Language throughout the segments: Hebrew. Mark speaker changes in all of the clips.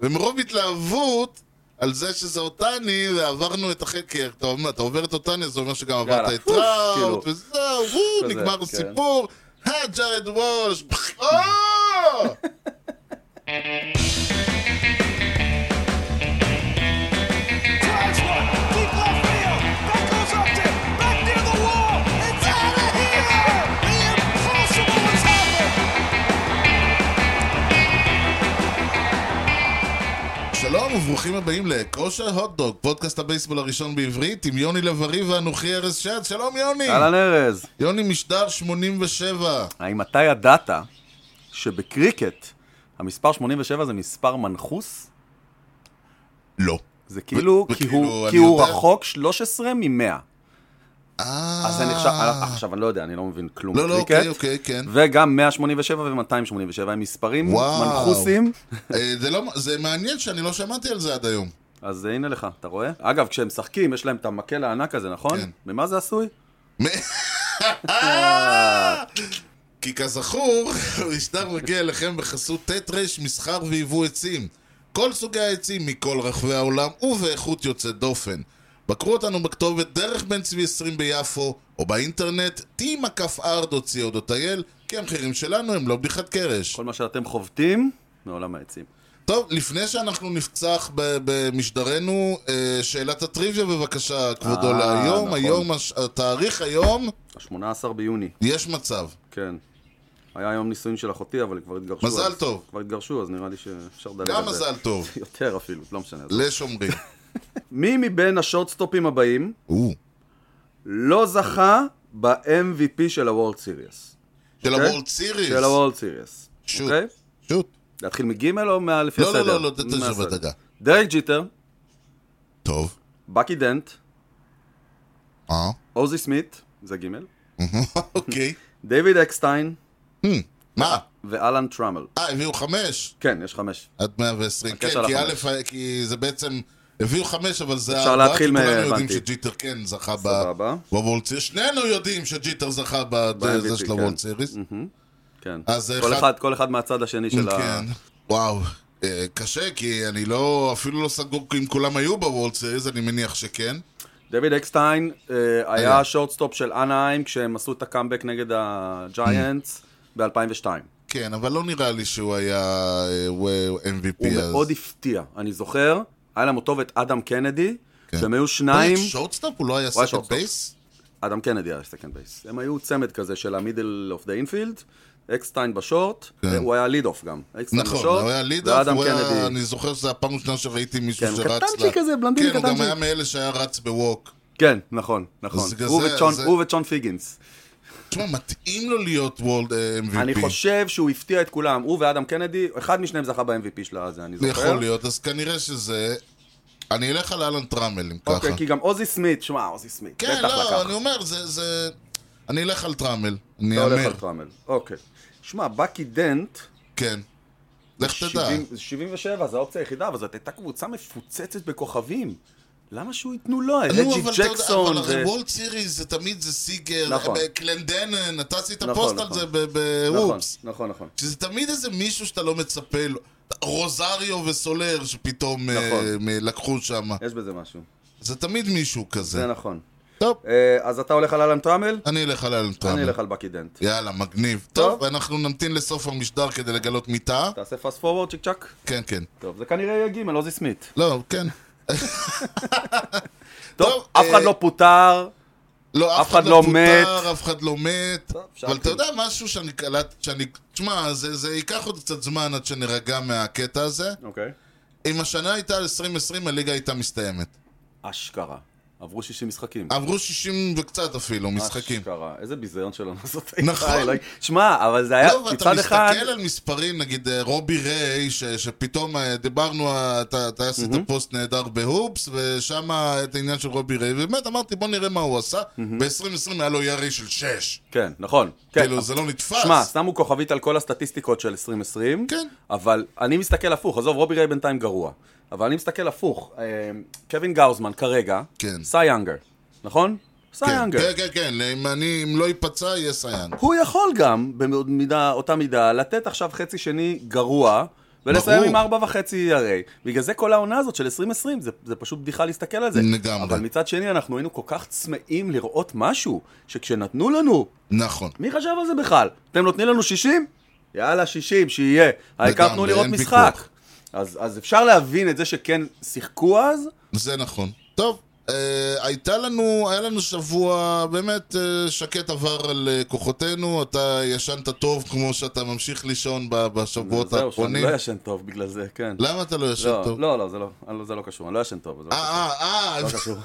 Speaker 1: ומרוב התלהבות על זה שזה אותני, ועברנו את החטא, כי אתה אומר, אתה עובר את אותני, זה אומר שגם
Speaker 2: יאללה,
Speaker 1: עברת את
Speaker 2: פוף,
Speaker 1: טראוט,
Speaker 2: כאילו.
Speaker 1: וזהו, וואו,
Speaker 2: כזה,
Speaker 1: נגמר
Speaker 2: כן.
Speaker 1: הסיפור, אה, ג'ארד וולש, פח, אה!
Speaker 3: Drives one, deep left field. That goes up to back near the wall. It's out of here. The impossible has happened.
Speaker 1: שלום וברוכים הבאים לכושר הוטדוג, פודקאסט הבייסבול הראשון בעברית, עם יוני לב-ארי ואנוכי ארז שעד, שלום יוני!
Speaker 2: אהלן ארז,
Speaker 1: יוני משדר 87.
Speaker 2: האם אתה ידעת שבקריקט המספר 87 זה מספר מנחוס?
Speaker 1: לא.
Speaker 2: זה כאילו,
Speaker 1: ו-
Speaker 2: כי
Speaker 1: וכאילו,
Speaker 2: הוא-
Speaker 1: אני
Speaker 2: כי הוא
Speaker 1: יודע-
Speaker 2: רחוק 13 מ-100.
Speaker 1: אה...
Speaker 2: אז זה נחשב, עכשיו אני לא יודע, אני לא מבין כלום
Speaker 1: לא, לא,
Speaker 2: בקריקט.
Speaker 1: אוקיי, אוקיי, כן.
Speaker 2: וגם 187 ו-287 הם מספרים
Speaker 1: וואו.
Speaker 2: מנחוסים.
Speaker 1: אה, זה לא- זה מעניין שאני לא שמעתי על זה עד היום.
Speaker 2: אז הנה לך, אתה רואה? אגב, כשהם משחקים, יש להם את המקל הענק הזה, נכון?
Speaker 1: כן.
Speaker 2: ממה זה עשוי?
Speaker 1: כי כזכור, המשדר מגיע אליכם בחסות ט' ר' מסחר ויבוא עצים. כל סוגי העצים מכל רחבי העולם ובאיכות יוצאת דופן. בקרו אותנו בכתובת דרך בן צבי 20 ביפו, או באינטרנט, t.r.co.il, כי המחירים שלנו הם לא בדיחת קרש.
Speaker 2: כל מה שאתם חובטים, מעולם העצים.
Speaker 1: טוב, לפני שאנחנו נפצח ב- במשדרנו, אה, שאלת הטריוויה בבקשה, כבודו,
Speaker 2: אה,
Speaker 1: להיום.
Speaker 2: נכון.
Speaker 1: היום, הש- התאריך היום,
Speaker 2: ה-18 ביוני,
Speaker 1: יש מצב.
Speaker 2: כן. היה יום נישואין של אחותי, אבל כבר התגרשו.
Speaker 1: מזל
Speaker 2: אז-
Speaker 1: טוב.
Speaker 2: כבר התגרשו, אז נראה לי שאפשר לדלג
Speaker 1: גם
Speaker 2: על זה.
Speaker 1: מזל טוב,
Speaker 2: יותר אפילו, לא משנה. אז-
Speaker 1: לשומרים.
Speaker 2: מי מבין השורטסטופים הבאים
Speaker 1: או.
Speaker 2: לא זכה ב-MVP של הוורלד סיריוס?
Speaker 1: של
Speaker 2: אוקיי?
Speaker 1: הוולד סיריס.
Speaker 2: של הוורלד סיריוס.
Speaker 1: שוט.
Speaker 2: אוקיי?
Speaker 1: שוט.
Speaker 2: להתחיל מגימל או מה- לפי
Speaker 1: לא,
Speaker 2: הסדר?
Speaker 1: לא, לא, לא, תתן
Speaker 2: מהסדר.
Speaker 1: שוב הדגה.
Speaker 2: דרק ג'יטר,
Speaker 1: טוב.
Speaker 2: בקי דנט,
Speaker 1: אה?
Speaker 2: עוזי סמית, זה גימל,
Speaker 1: אוקיי.
Speaker 2: דיוויד אקסטיין
Speaker 1: מה?
Speaker 2: ואלן טראמל.
Speaker 1: אה, הביאו חמש?
Speaker 2: כן, יש חמש.
Speaker 1: עד 120. כן,
Speaker 2: הקטע על
Speaker 1: כי
Speaker 2: החמש.
Speaker 1: א', כי זה בעצם... הביאו חמש, אבל זה...
Speaker 2: אפשר
Speaker 1: הארבעה,
Speaker 2: להתחיל
Speaker 1: כי כולנו
Speaker 2: מ-
Speaker 1: יודעים
Speaker 2: הבנתי.
Speaker 1: שג'יטר כן זכה ב...
Speaker 2: סבבה.
Speaker 1: בוולד סיריס. שנינו יודעים שג'יטר זכה
Speaker 2: ב-
Speaker 1: בזה של
Speaker 2: כן.
Speaker 1: הוולד סיריס.
Speaker 2: כן.
Speaker 1: אז
Speaker 2: כל
Speaker 1: אחד-
Speaker 2: אחד, כל אחד מהצד השני של ה...
Speaker 1: כן. וואו. אה, קשה, כי אני לא... אפילו לא סגור אם כולם היו בוולד סיריס, אני מניח שכן.
Speaker 2: דויד אקסטיין אה, היה
Speaker 1: היה.
Speaker 2: השורטסטופ של אנהיים כשהם עשו את הקאמבק נגד הג'יינטס ב-2002.
Speaker 1: כן, אבל לא נראה לי שהוא היה אה, הוא MVP
Speaker 2: הוא
Speaker 1: אז.
Speaker 2: מאוד הפתיע, אני זוכר. היה להם אותו ואת אדם קנדי,
Speaker 1: כן.
Speaker 2: שהם היו
Speaker 1: הוא היה
Speaker 2: שניים.
Speaker 1: שורטסטאפ? הוא לא היה
Speaker 2: היה
Speaker 1: סקנד
Speaker 2: שורטסטאפ.
Speaker 1: בייס?
Speaker 2: אדם קנדי היה סקנד בייס. הם היו צמד כזה של המידל אוף דה אינפילד, אקסטיין בשורט, אה, הוא היה ליד אוף גם. אקסטיין
Speaker 1: כן. נכון,
Speaker 2: בשורט,
Speaker 1: הוא היה ליד אוף,
Speaker 2: ואדם
Speaker 1: הוא היה...
Speaker 2: קנדי.
Speaker 1: אני זוכר שזו הפעם הראשונה שראיתי מישהו
Speaker 2: כן,
Speaker 1: שרץ
Speaker 2: קטנצ'יק כזה, בלונדיני
Speaker 1: כן, הוא גם
Speaker 2: קטנצ'יק.
Speaker 1: היה מאלה שהיה רץ בווק.
Speaker 2: כן, נכון, נכון.
Speaker 1: אז בגלל
Speaker 2: הוא
Speaker 1: זה-
Speaker 2: וצ'ון-
Speaker 1: זה-
Speaker 2: הוא וצ'ון פיגינס.
Speaker 1: תשמע, מתאים לו להיות וולד אה, MVP.
Speaker 2: אני חושב שהוא הפתיע את כולם, הוא ואדם קנדי, אחד משניהם זכה ב-MVP של הזה, אני
Speaker 1: זה
Speaker 2: זוכר.
Speaker 1: יכול להיות, אז כנראה שזה... אני אלך על אלן טראמל, אם ככה.
Speaker 2: אוקיי, כי גם עוזי סמית, שמע, עוזי סמית,
Speaker 1: כן,
Speaker 2: בטח
Speaker 1: לא,
Speaker 2: לקח.
Speaker 1: אני אומר, זה- זה... אני אלך על טראמל. אני
Speaker 2: לא הולך
Speaker 1: אאמר.
Speaker 2: על טראמל. אוקיי. שמע, בקי דנט,
Speaker 1: כן. לך תדע.
Speaker 2: 70 זה 77, זו האופציה היחידה, אבל זאת הייתה קבוצה מפוצצת בכוכבים. למה שהוא ייתנו
Speaker 1: נו,
Speaker 2: לו? רג'י
Speaker 1: אבל אתה יודע,
Speaker 2: ג'קסון.
Speaker 1: אבל הרי
Speaker 2: ו-
Speaker 1: וולד סיריס זה תמיד זה סיגר,
Speaker 2: נכון.
Speaker 1: אה, קלנדנן, אתה עשית
Speaker 2: נכון,
Speaker 1: פוסט על
Speaker 2: נכון.
Speaker 1: זה
Speaker 2: נכון,
Speaker 1: בוופס.
Speaker 2: נכון, נכון.
Speaker 1: שזה תמיד איזה מישהו שאתה לא מצפה לו. רוזריו וסולר שפתאום
Speaker 2: נכון.
Speaker 1: אה, מ- לקחו שם.
Speaker 2: יש בזה משהו.
Speaker 1: זה תמיד מישהו כזה.
Speaker 2: זה נכון.
Speaker 1: טוב,
Speaker 2: אה, אז אתה הולך על אלן טראמל?
Speaker 1: אני אלך על אלן
Speaker 2: אני
Speaker 1: טראמל.
Speaker 2: אלך על בקי דנט.
Speaker 1: יאללה, מגניב.
Speaker 2: טוב.
Speaker 1: טוב, אנחנו נמתין לסוף המשדר כדי לגלות מיטה.
Speaker 2: תעשה פאסט פורוורד, צ'יק צ'אק.
Speaker 1: כן, כן.
Speaker 2: טוב, זה כנראה יהיה גימל, עוזי סמית.
Speaker 1: לא, כן.
Speaker 2: טוב, אף אחד
Speaker 1: אה,
Speaker 2: לא פוטר.
Speaker 1: לא, אף
Speaker 2: אחד לא
Speaker 1: פוטר, אף אחד לא מת.
Speaker 2: טוב, אפשר
Speaker 1: אבל אתה
Speaker 2: להתחיל.
Speaker 1: יודע משהו שאני קלט, שאני... תשמע, זה זה ייקח עוד קצת זמן עד שנירגע מהקטע הזה.
Speaker 2: אוקיי.
Speaker 1: אם השנה הייתה 2020, הליגה הייתה מסתיימת.
Speaker 2: אשכרה. עברו 60 משחקים.
Speaker 1: עברו 60 וקצת אפילו, משחקים.
Speaker 2: אשכרה. איזה ביזיון שלנו זאת.
Speaker 1: נכון.
Speaker 2: שמע, אבל זה היה
Speaker 1: לא, ואתה
Speaker 2: אה, מצד
Speaker 1: מסתכל
Speaker 2: אחד...
Speaker 1: על מספרים, נגיד אה, רובי ריי, ש, שפתאום אה, דיברנו, אה, אתה, אתה עשית פוסט נהדר בהופס, ושם את העניין של רובי ריי, ובאמת אמרתי, בוא נראה מה הוא עשה. ב-2020 היה לו ירי של 6.
Speaker 2: כן, נכון. כן.
Speaker 1: כאילו, זה לא נתפס.
Speaker 2: שמע, שמו כוכבית על כל הסטטיסטיקות של 2020.
Speaker 1: כן.
Speaker 2: אבל אני מסתכל הפוך. עזוב, רובי ריי בינתיים גרוע. אבל אני מסתכל הפוך. אה, קווין גאוזמן כרגע,
Speaker 1: כן.
Speaker 2: סי יאנגר, נכון? סי
Speaker 1: כן,
Speaker 2: יאנגר.
Speaker 1: כן, כן, כן, אם, אני, אם לא ייפצע, יהיה סייאן.
Speaker 2: הוא יכול גם, במידה, אותה מידה, לתת עכשיו חצי שני גרוע, ולסיים
Speaker 1: ברור.
Speaker 2: עם ארבע וחצי ERA. בגלל זה כל העונה הזאת של 2020, זה, זה פשוט בדיחה להסתכל על זה.
Speaker 1: לגמרי.
Speaker 2: אבל מצד שני, אנחנו היינו כל כך צמאים לראות משהו, שכשנתנו לנו,
Speaker 1: נכון.
Speaker 2: מי חשב על זה בכלל? אתם נותנים לנו 60? יאללה, 60, שיהיה. העיקר תנו
Speaker 1: לגמרי,
Speaker 2: לראות
Speaker 1: אין
Speaker 2: משחק.
Speaker 1: ויכוח.
Speaker 2: אז, אז אפשר להבין את זה שכן שיחקו אז,
Speaker 1: זה נכון. טוב, אה, הייתה לנו, היה לנו שבוע, באמת, אה, שקט עבר על אה, כוחותינו, אתה ישנת טוב כמו שאתה ממשיך לישון ב- בשבועות
Speaker 2: זהו, שאני
Speaker 1: האחרונים.
Speaker 2: לא ישן טוב בגלל זה, כן.
Speaker 1: למה אתה לא ישן
Speaker 2: לא,
Speaker 1: טוב?
Speaker 2: לא, לא, זה לא, אני לא- זה לא קשור, אני לא ישן טוב, זה לא
Speaker 1: אה, אה,
Speaker 2: קשור.
Speaker 1: אה,
Speaker 2: לא קשור.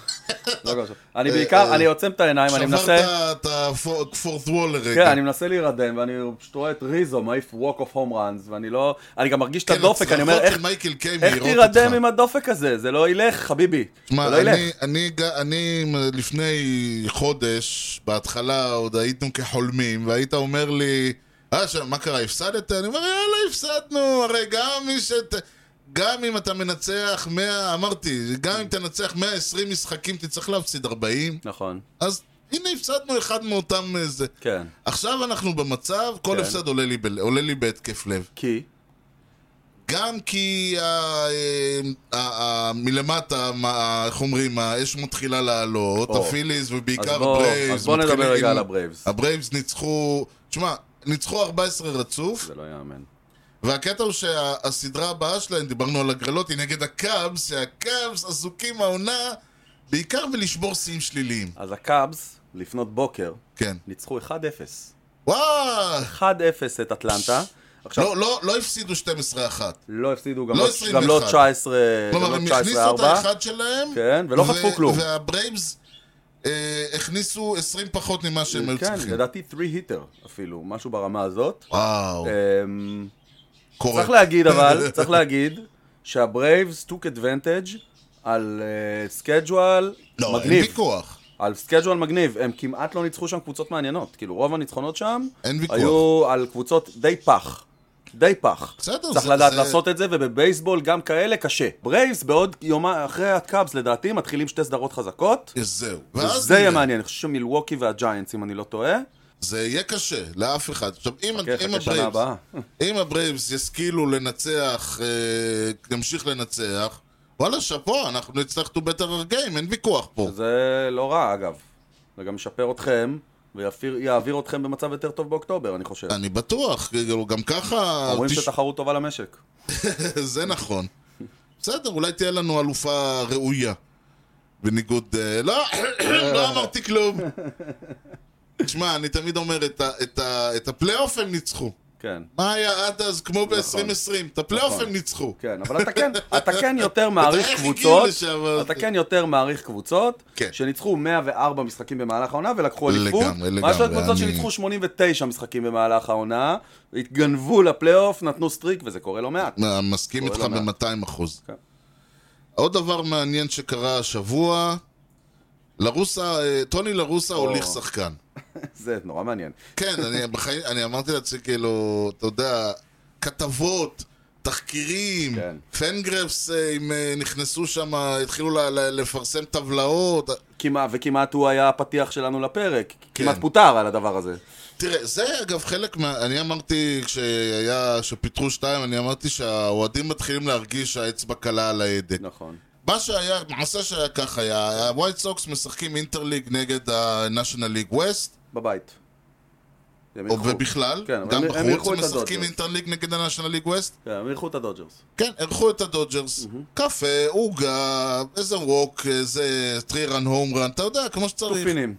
Speaker 2: לא קשור. אני בעיקר, אני עוצם את העיניים, אני
Speaker 1: שברת
Speaker 2: מנסה...
Speaker 1: אה, את ה-fourth wall לרגע.
Speaker 2: כן, אני מנסה להירדם, ואני פשוט רואה את ריזו מעיף walk of home runs, ואני לא... אני גם מרגיש את
Speaker 1: כן,
Speaker 2: הדופק, אני אומר,
Speaker 1: הצרחות
Speaker 2: איך-
Speaker 1: של מייקל קיי
Speaker 2: איך
Speaker 1: מאירות
Speaker 2: תירדם
Speaker 1: אותך.
Speaker 2: עם הדופק הזה? זה לא ילך, חביבי. זה
Speaker 1: תשמע,
Speaker 2: לא ילך.
Speaker 1: אני, אני, ג- אני לפני חודש, בהתחלה עוד היינו כחולמים, והיית אומר לי, אה, ש... מה קרה, הפסדת? אני אומר, יאללה, הפסדנו, הרי גם מי שת... גם אם אתה מנצח 100, אמרתי, גם אם תנצח 120 משחקים, תצטרך להפסיד 40.
Speaker 2: נכון,
Speaker 1: אז הנה הפסדנו אחד מאותם אה, זה.
Speaker 2: כן.
Speaker 1: עכשיו אנחנו במצב, כל
Speaker 2: כן.
Speaker 1: הפסד עולה לי, ב... עולה לי בהתקף לב.
Speaker 2: כי...
Speaker 1: גם כי ה- אה, ה- ה- מלמטה, מה- איך אומרים, האש מתחילה לעלות,
Speaker 2: או.
Speaker 1: הפיליז
Speaker 2: אז
Speaker 1: ובעיקר
Speaker 2: בוא- אז
Speaker 1: הברייבס.
Speaker 2: בוא נדבר
Speaker 1: מתחילים-
Speaker 2: רגע על הברייבס.
Speaker 1: הברייבס ניצחו, תשמע, ניצחו 14 רצוף,
Speaker 2: זה לא יאמן.
Speaker 1: והקטע הוא שהסדרה הבאה שלהם, דיברנו על הגרלות, היא נגד הקאבס, שהקאבס עסוקים העונה בעיקר בלשבור שיאים שליליים.
Speaker 2: אז הקאבס, לפנות בוקר,
Speaker 1: כן.
Speaker 2: ניצחו 1-0.
Speaker 1: וואו!
Speaker 2: 1-0 את אטלנטה. עכשיו,
Speaker 1: לא, לא, לא הפסידו 12-1.
Speaker 2: לא הפסידו, גם
Speaker 1: לא
Speaker 2: לא-
Speaker 1: 21.
Speaker 2: גם לא 19 גם
Speaker 1: כלומר,
Speaker 2: לא
Speaker 1: הם
Speaker 2: 19-4.
Speaker 1: הכניסו את האחד שלהם,
Speaker 2: כן, ולא חטפו
Speaker 1: ו-
Speaker 2: כלום.
Speaker 1: והברייבס אה, הכניסו 20 פחות ממה שהם היו
Speaker 2: כן,
Speaker 1: צריכים.
Speaker 2: לדעתי 3 היטר אפילו, משהו ברמה הזאת.
Speaker 1: וואו,
Speaker 2: אמ,
Speaker 1: קורה.
Speaker 2: צריך להגיד אבל, צריך להגיד שהברייבס took advantage על סקייג'ואל
Speaker 1: לא, אין
Speaker 2: מגניב.
Speaker 1: ויכוח.
Speaker 2: על סקייג'ואל מגניב, הם כמעט לא ניצחו שם קבוצות מעניינות. כאילו, רוב הניצחונות שם
Speaker 1: אין ויכוח.
Speaker 2: היו על קבוצות די פח. די פח.
Speaker 1: בסדר,
Speaker 2: צריך
Speaker 1: זה-
Speaker 2: לדעת
Speaker 1: זה-
Speaker 2: לעשות את זה, ובבייסבול גם כאלה קשה. ברייבס בעוד יומה, אחרי הקאבס לדעתי, מתחילים שתי סדרות חזקות.
Speaker 1: אה, זהו. ואז
Speaker 2: זה יהיה
Speaker 1: נראה.
Speaker 2: מעניין, אני חושב שמילווקי והג'יינטס, אם אני לא טועה.
Speaker 1: זה יהיה קשה, לאף אחד. עכשיו, אם
Speaker 2: חכה,
Speaker 1: אם
Speaker 2: חכה שנה
Speaker 1: הברייבס-
Speaker 2: הבאה.
Speaker 1: אם הברייבס ישכילו לנצח, אה, ימשיך לנצח, וואלה, שאפו, אנחנו נצטרך to better our game, אין ויכוח פה.
Speaker 2: זה לא רע, אגב. זה גם ישפר אתכם, ויעביר אתכם במצב יותר טוב באוקטובר, אני חושב.
Speaker 1: אני בטוח, כאילו, גם ככה...
Speaker 2: אומרים
Speaker 1: תש-
Speaker 2: שתחרות טובה למשק.
Speaker 1: זה נכון. בסדר, אולי תהיה לנו אלופה ראויה. בניגוד... אה, לא, לא אמרתי כלום. תשמע, אני תמיד אומר, את ה- את ה- את הפלייאוף הם ניצחו.
Speaker 2: כן.
Speaker 1: מה היה עד אז, כמו ב-2020? את הפלייאוף
Speaker 2: נכון.
Speaker 1: הם ניצחו.
Speaker 2: כן, אבל אתה כן, אתה כן יותר מעריך
Speaker 1: איך הגיעו
Speaker 2: קבוצות,
Speaker 1: לשם, אבל-
Speaker 2: אתה כן יותר מעריך קבוצות,
Speaker 1: כן.
Speaker 2: שניצחו 104 משחקים במהלך העונה ולקחו אליפות,
Speaker 1: לגמרי,
Speaker 2: מה יש לו
Speaker 1: לגמרי,
Speaker 2: קבוצות
Speaker 1: אני-
Speaker 2: שניצחו 89 משחקים במהלך העונה, התגנבו לפלייאוף, נתנו סטריק, וזה קורה לא מעט.
Speaker 1: מה, מסכים
Speaker 2: קורה
Speaker 1: איתך
Speaker 2: לא מעט.
Speaker 1: ב-200 אחוז.
Speaker 2: כן.
Speaker 1: עוד דבר מעניין שקרה השבוע, לרוסה, אה, טוני לרוסה הוליך שחקן.
Speaker 2: זה נורא מעניין.
Speaker 1: כן, אני, בחיים, אני אמרתי לעצמי, כאילו, אתה יודע, כתבות, תחקירים,
Speaker 2: כן.
Speaker 1: פנגרפס, אה, הם אה, נכנסו שם, התחילו ל- ל- לפרסם טבלאות.
Speaker 2: כמעט, וכמעט הוא היה הפתיח שלנו לפרק,
Speaker 1: כן.
Speaker 2: כמעט פוטר על הדבר הזה.
Speaker 1: תראה, זה אגב חלק מה... אני אמרתי, כשהיה, כשפיטרו שתיים, אני אמרתי שהאוהדים מתחילים להרגיש שהאצבע קלה על ההדק.
Speaker 2: נכון.
Speaker 1: מה שהיה, מעשה שהיה כך היה, הווייט סוקס משחקים אינטרליג נגד ה-National League West,
Speaker 2: בבית. הם
Speaker 1: או
Speaker 2: אירחו.
Speaker 1: ובכלל,
Speaker 2: כן, אבל
Speaker 1: גם
Speaker 2: הם- הם אירחו
Speaker 1: בחוץ
Speaker 2: את
Speaker 1: הם משחקים
Speaker 2: הדודג'רס.
Speaker 1: אינטרליג נגד ה-National League West.
Speaker 2: כן, הם אירחו את הדודג'רס.
Speaker 1: כן, אירחו את הדודג'רס. קפה, עוגה, איזה ווק, איזה טרי רן הום רן, אתה יודע, כמו שצריך.
Speaker 2: פינים.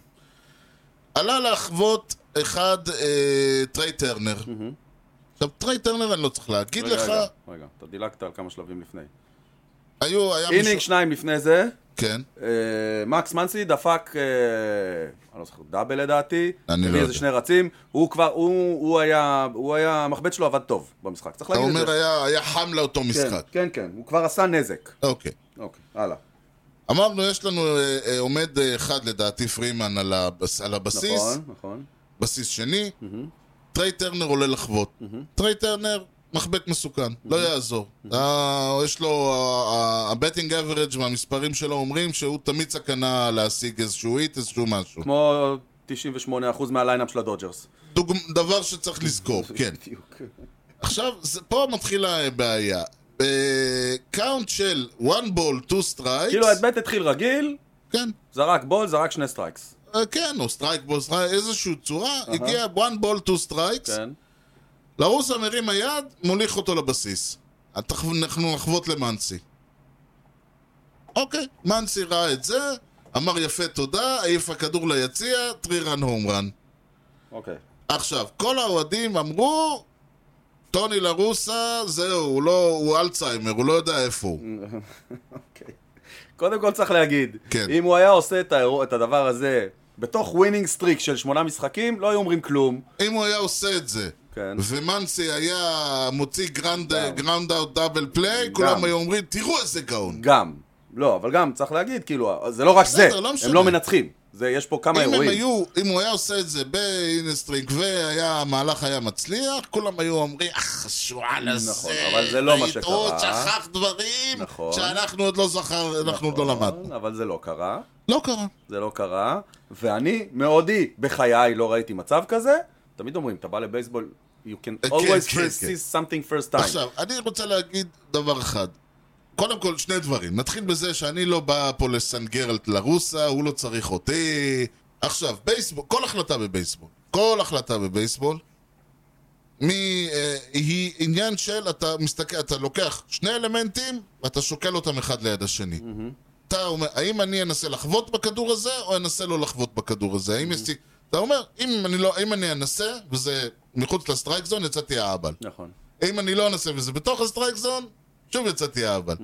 Speaker 1: עלה לחוות אחד אה, טריי טרנר. עכשיו, טריי טרנר אני לא צריך להגיד
Speaker 2: רגע,
Speaker 1: לך,
Speaker 2: רגע, רגע, אתה דילגת על כמה שלבים לפני.
Speaker 1: היו, היה
Speaker 2: אינינג
Speaker 1: מישהו...
Speaker 2: שניים לפני זה,
Speaker 1: כן,
Speaker 2: אה, מקס מנסי דפק, אה, אני לא זוכר, דאבל לדעתי,
Speaker 1: אני לא
Speaker 2: הביא איזה
Speaker 1: יודע.
Speaker 2: שני רצים, הוא כבר, הוא הוא היה, הוא היה, המחבט שלו עבד טוב במשחק, צריך
Speaker 1: אתה
Speaker 2: להגיד את
Speaker 1: אומר
Speaker 2: זה.
Speaker 1: היה- היה חם לאותו
Speaker 2: כן,
Speaker 1: משחק.
Speaker 2: כן, כן, הוא כבר עשה נזק.
Speaker 1: אוקיי.
Speaker 2: אוקיי, הלאה.
Speaker 1: אמרנו, יש לנו, אה, אה, עומד אה, אחד לדעתי פרימן על הבס- על הבסיס,
Speaker 2: נכון, נכון.
Speaker 1: בסיס שני, טריי טרנר עולה לחוות. טריי טרנר, מחבט מסוכן, לא יעזור. אה, יש לו, הבטינג אברג' והמספרים שלו אומרים שהוא תמיד סכנה להשיג איזשהו היט, איזשהו משהו.
Speaker 2: כמו 98% מהליינאפ של הדודג'רס.
Speaker 1: דוג- דבר שצריך לזכור, כן.
Speaker 2: בדיוק.
Speaker 1: עכשיו, זה, פה מתחילה הבעיה. קאונט של one ball, two strikes.
Speaker 2: כאילו, האמת התחיל רגיל,
Speaker 1: כן.
Speaker 2: זרק בול, זרק שני סטרייקס.
Speaker 1: אה, כן, או סטרייק בול, סטרייק, איזושהי צורה,
Speaker 2: אהה.
Speaker 1: הגיע one ball, two strikes.
Speaker 2: כן.
Speaker 1: לרוס מרים היד, מוליך אותו לבסיס. התח- אנחנו נחבוט למאנסי. אוקיי, מאנסי ראה את זה, אמר יפה תודה, העיף הכדור ליציע, טרי רן הום רן.
Speaker 2: אוקיי.
Speaker 1: עכשיו, כל האוהדים אמרו, טוני לרוסה, זהו, הוא לא, הוא אלצהיימר, הוא לא יודע איפה הוא.
Speaker 2: אוקיי. קודם כל צריך להגיד,
Speaker 1: כן.
Speaker 2: אם הוא היה עושה את, האירוע, את הדבר הזה בתוך ווינינג סטריק של שמונה משחקים, לא היו אומרים כלום.
Speaker 1: אם הוא היה עושה את זה,
Speaker 2: כן.
Speaker 1: ומנסי היה מוציא גרנד
Speaker 2: גם.
Speaker 1: אאוט דאבל פליי, כולם היו אומרים, תראו איזה גאון.
Speaker 2: גם. לא, אבל גם צריך להגיד, כאילו, זה לא רק זה,
Speaker 1: בסדר, לא משנה.
Speaker 2: הם לא מנצחים. זה, יש פה כמה
Speaker 1: אם הם
Speaker 2: אירועים.
Speaker 1: היו, אם הוא היה עושה את זה באינסטרינג והיה, המהלך היה מצליח, כולם היו אומרים, אך, השועל הזה,
Speaker 2: נכון, אבל זה לא מה שקרה."
Speaker 1: והיתרות שכח דברים,
Speaker 2: נכון.
Speaker 1: שאנחנו עוד לא זכר, אנחנו עוד לא למדנו.
Speaker 2: אבל זה לא קרה,
Speaker 1: לא קרה.
Speaker 2: זה לא קרה, ואני מאודי בחיי לא ראיתי מצב כזה. תמיד אומרים, אתה בא לבייסבול, you can
Speaker 1: כן,
Speaker 2: always
Speaker 1: כן,
Speaker 2: first
Speaker 1: כן.
Speaker 2: see something first time.
Speaker 1: עכשיו, אני רוצה להגיד דבר אחד. קודם כל, שני דברים. נתחיל בזה שאני לא בא פה לסנגר על טלרוסה, הוא לא צריך אותי. עכשיו, בייסבול, כל החלטה בבייסבול, כל החלטה בבייסבול, מ, אה, היא עניין של, אתה מסתכל, אתה לוקח שני אלמנטים, ואתה שוקל אותם אחד ליד השני. אתה אומר, האם אני אנסה לחבוט בכדור הזה, או אנסה לא לחבוט בכדור הזה? האם יש לי... אתה אומר, אם אני, לא, אם אני אנסה, וזה מחוץ לסטרייק זון, יצאתי האבל.
Speaker 2: נכון.
Speaker 1: אם אני לא אנסה וזה בתוך הסטרייק זון, שוב יצאתי האבל.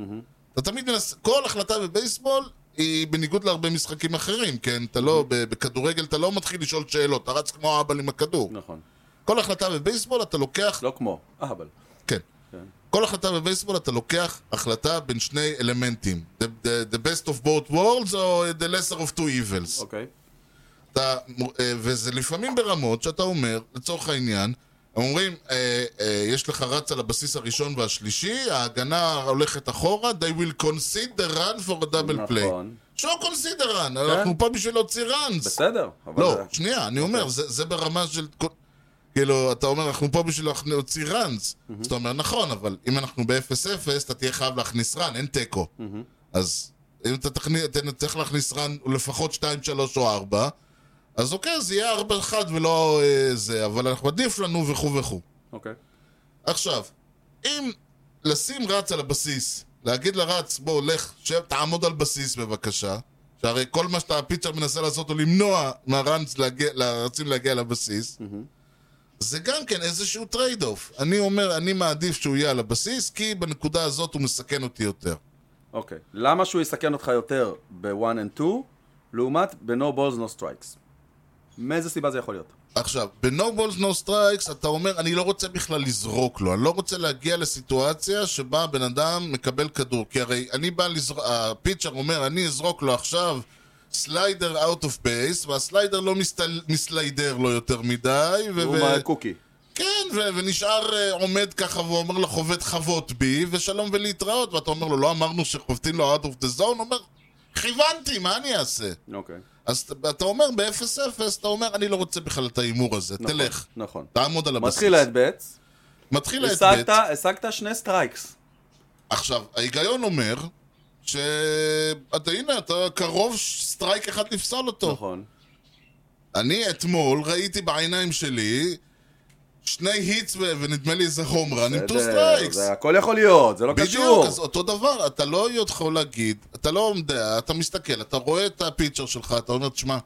Speaker 1: אתה תמיד מנסה, כל החלטה בבייסבול היא בניגוד להרבה משחקים אחרים, כן? אתה לא, ב- בכדורגל אתה לא מתחיל לשאול שאלות, אתה רץ כמו האבל עם הכדור.
Speaker 2: נכון.
Speaker 1: כל החלטה בבייסבול אתה לוקח,
Speaker 2: לא כמו, אה, אבל.
Speaker 1: כן. כל החלטה בבייסבול אתה לוקח החלטה בין שני אלמנטים. The, the, the best of both worlds או the lesser of two evils.
Speaker 2: אוקיי.
Speaker 1: אתה, אה, וזה לפעמים ברמות שאתה אומר, לצורך העניין, הם אומרים, אה, אה, יש לך רץ על הבסיס הראשון והשלישי, ההגנה הולכת אחורה, they will consider run for a double play.
Speaker 2: נכון. כן.
Speaker 1: שואו consider run, אנחנו פה בשביל להוציא runs.
Speaker 2: בסדר, אבל...
Speaker 1: לא,
Speaker 2: זה- אוקיי.
Speaker 1: שנייה, אני אומר, זה זה ברמה של... כאילו, אתה אומר, אנחנו פה בשביל להוציא ראנס. אז אתה אומר, נכון, אבל אם אנחנו ב-0-0, אתה תהיה חייב להכניס ראן, אין תיקו. אז אם אתה תכניס- אתה צריך להכניס ראן לפחות 2, 3 או 4, אז אוקיי, זה יהיה 4-1 ולא אה, זה, אבל אנחנו- עדיף לנו וכו' וכו'.
Speaker 2: אוקיי.
Speaker 1: עכשיו, אם לשים רץ על הבסיס, להגיד לרץ, בוא, לך, שב, תעמוד על בסיס בבקשה, שהרי כל מה שאתה, הפיצ'ר מנסה לעשות הוא למנוע מהרנס להגיע, לרצים להגיע לבסיס, זה גם כן איזשהו טרייד אוף. אני אומר, אני מעדיף שהוא יהיה על הבסיס, כי בנקודה הזאת הוא מסכן אותי יותר.
Speaker 2: אוקיי. למה שהוא יסכן אותך יותר ב-1 and 2, לעומת ב-No balls no strikes? מאיזה סיבה זה יכול להיות?
Speaker 1: עכשיו, ב-No Balls No Strikes אתה אומר, אני לא רוצה בכלל לזרוק לו, אני לא רוצה להגיע לסיטואציה שבה הבן אדם מקבל כדור, כי הרי אני בא לזרוק, הפיצ'ר אומר, אני אזרוק לו עכשיו סליידר out of base, והסליידר לא מסתל... מסליידר לו יותר מדי, ו...
Speaker 2: הוא
Speaker 1: ו-
Speaker 2: קוקי.
Speaker 1: כן, ו- ונשאר אה, עומד ככה ואומר לו חובט חבוט בי, ושלום ולהתראות, ואתה אומר לו, לא אמרנו שחובטים לו out of the zone, הוא אומר, כיוונתי, מה אני אעשה?
Speaker 2: אוקיי.
Speaker 1: אז אתה- אתה אומר ב-0-0, אתה אומר, אני לא רוצה בכלל את ההימור הזה,
Speaker 2: נכון,
Speaker 1: תלך.
Speaker 2: נכון.
Speaker 1: תעמוד על הבסיס.
Speaker 2: מתחיל ההדבץ,
Speaker 1: מתחיל
Speaker 2: השגת-
Speaker 1: ההדבט.
Speaker 2: השגת שני סטרייקס.
Speaker 1: עכשיו, ההיגיון אומר ש... אתה, הנה, אתה קרוב ש- סטרייק אחד לפסול אותו.
Speaker 2: נכון.
Speaker 1: אני אתמול ראיתי בעיניים שלי שני היטס ו- ונדמה לי איזה הום רן עם טו
Speaker 2: בסדר,
Speaker 1: סטרייקס.
Speaker 2: זה הכל יכול להיות, זה לא קשור.
Speaker 1: בדיוק, אז אותו דבר, אתה לא יכול להגיד, אתה לא יודע, אתה מסתכל, אתה רואה את הפיצ'ר שלך, אתה אומר, תשמע,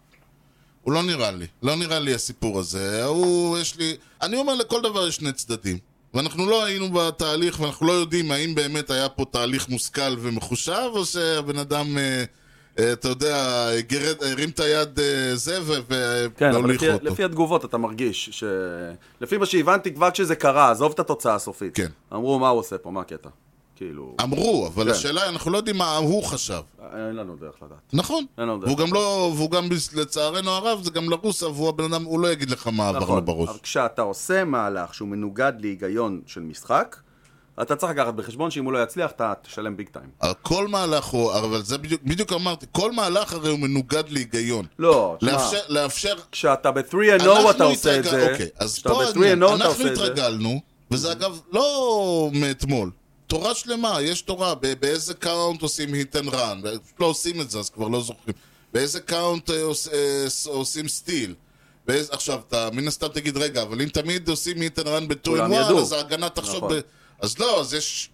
Speaker 1: הוא לא נראה לי, לא נראה לי הסיפור הזה, הוא, יש לי... אני אומר, לכל דבר יש שני צדדים. ואנחנו לא היינו בתהליך, ואנחנו לא יודעים האם באמת היה פה תהליך מושכל ומחושב, או שהבן אדם, אה, אה, אתה יודע, גרד, הרים את היד אה, זה ו-
Speaker 2: כן, אבל
Speaker 1: והוליך
Speaker 2: לפי-
Speaker 1: אותו.
Speaker 2: לפי התגובות אתה מרגיש ש... לפי מה שהבנתי כבר כשזה קרה, עזוב את התוצאה הסופית.
Speaker 1: כן.
Speaker 2: אמרו, מה הוא עושה פה, מה הקטע? כאילו,
Speaker 1: אמרו, אבל
Speaker 2: כן.
Speaker 1: השאלה, אנחנו לא יודעים מה הוא חשב.
Speaker 2: אין לנו דרך לדעת.
Speaker 1: נכון.
Speaker 2: אין לנו דרך.
Speaker 1: והוא גם לא, והוא גם בס- לצערנו הרב, זה גם לרוסה, והוא הבן אדם, הוא לא יגיד לך מה עבר לו בראש.
Speaker 2: נכון, אבל כשאתה עושה מהלך שהוא מנוגד להיגיון של משחק, אתה צריך לקחת בחשבון שאם הוא לא יצליח, אתה תשלם ביג טיים.
Speaker 1: כל מהלך הוא, אבל זה בדיוק, בדיוק אמרתי, כל מהלך הרי הוא מנוגד להיגיון.
Speaker 2: לא, תשמע,
Speaker 1: לאפשר, לאפשר,
Speaker 2: כשאתה ב-3 and 0 אתה
Speaker 1: אנחנו
Speaker 2: עושה את
Speaker 1: התרגל-
Speaker 2: זה,
Speaker 1: אוקיי, אז
Speaker 2: כשאתה
Speaker 1: פה
Speaker 2: ב-3 and 0
Speaker 1: העניין,
Speaker 2: אתה
Speaker 1: אנחנו
Speaker 2: עושה את זה,
Speaker 1: התרגלנו וזה אגב לא מאתמול. תורה שלמה, יש תורה, ב- באיזה קאונט עושים hit and run, לא עושים את זה אז כבר לא זוכרים, באיזה קאונט אה, עוש- אה, ס- עושים סטיל. באיזה, עכשיו, אתה מן הסתם תגיד, רגע, אבל אם תמיד עושים hit and run בטו
Speaker 2: כולם
Speaker 1: and one,
Speaker 2: ידעו."
Speaker 1: אז ההגנה תחשוב
Speaker 2: נכון.
Speaker 1: ב... אז לא, אז יש...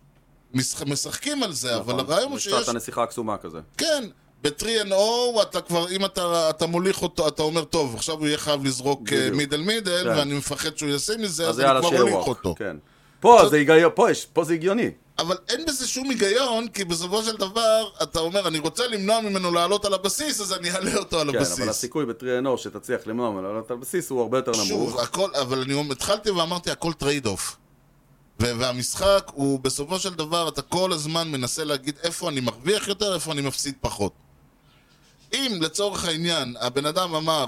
Speaker 1: משח- משחקים על
Speaker 2: נכון.
Speaker 1: זה, אבל הרעיון הוא שיש...
Speaker 2: קצת הנסיכה הקסומה כזה.
Speaker 1: כן, ב-3 and O אתה כבר, אם אתה, אתה מוליך אותו, אתה אומר, טוב, עכשיו הוא יהיה חייב לזרוק
Speaker 2: בדיוק.
Speaker 1: מידל מידל,
Speaker 2: כן.
Speaker 1: ואני מפחד שהוא יעשה מזה,
Speaker 2: אז
Speaker 1: אז אני
Speaker 2: יאללה,
Speaker 1: כבר
Speaker 2: שיהיה
Speaker 1: מוליך
Speaker 2: ווק.
Speaker 1: אותו.
Speaker 2: כן. פה זה היגיון- פה יש- פה זה הגיוני.
Speaker 1: אבל אין בזה שום היגיון, כי בסופו של דבר, אתה אומר, אני רוצה למנוע ממנו לעלות על הבסיס, אז אני אעלה אותו על
Speaker 2: כן,
Speaker 1: הבסיס.
Speaker 2: אבל הסיכוי בטריאנור שתצליח למנוע ממנו לעלות על בסיס הוא הרבה יותר
Speaker 1: שוב,
Speaker 2: נמוך.
Speaker 1: הכל, אבל אני אומר- התחלתי ואמרתי, הכל טרייד אוף. ו- והמשחק הוא, בסופו של דבר, אתה כל הזמן מנסה להגיד איפה אני מרוויח יותר, איפה אני מפסיד פחות. אם לצורך העניין, הבן אדם אמר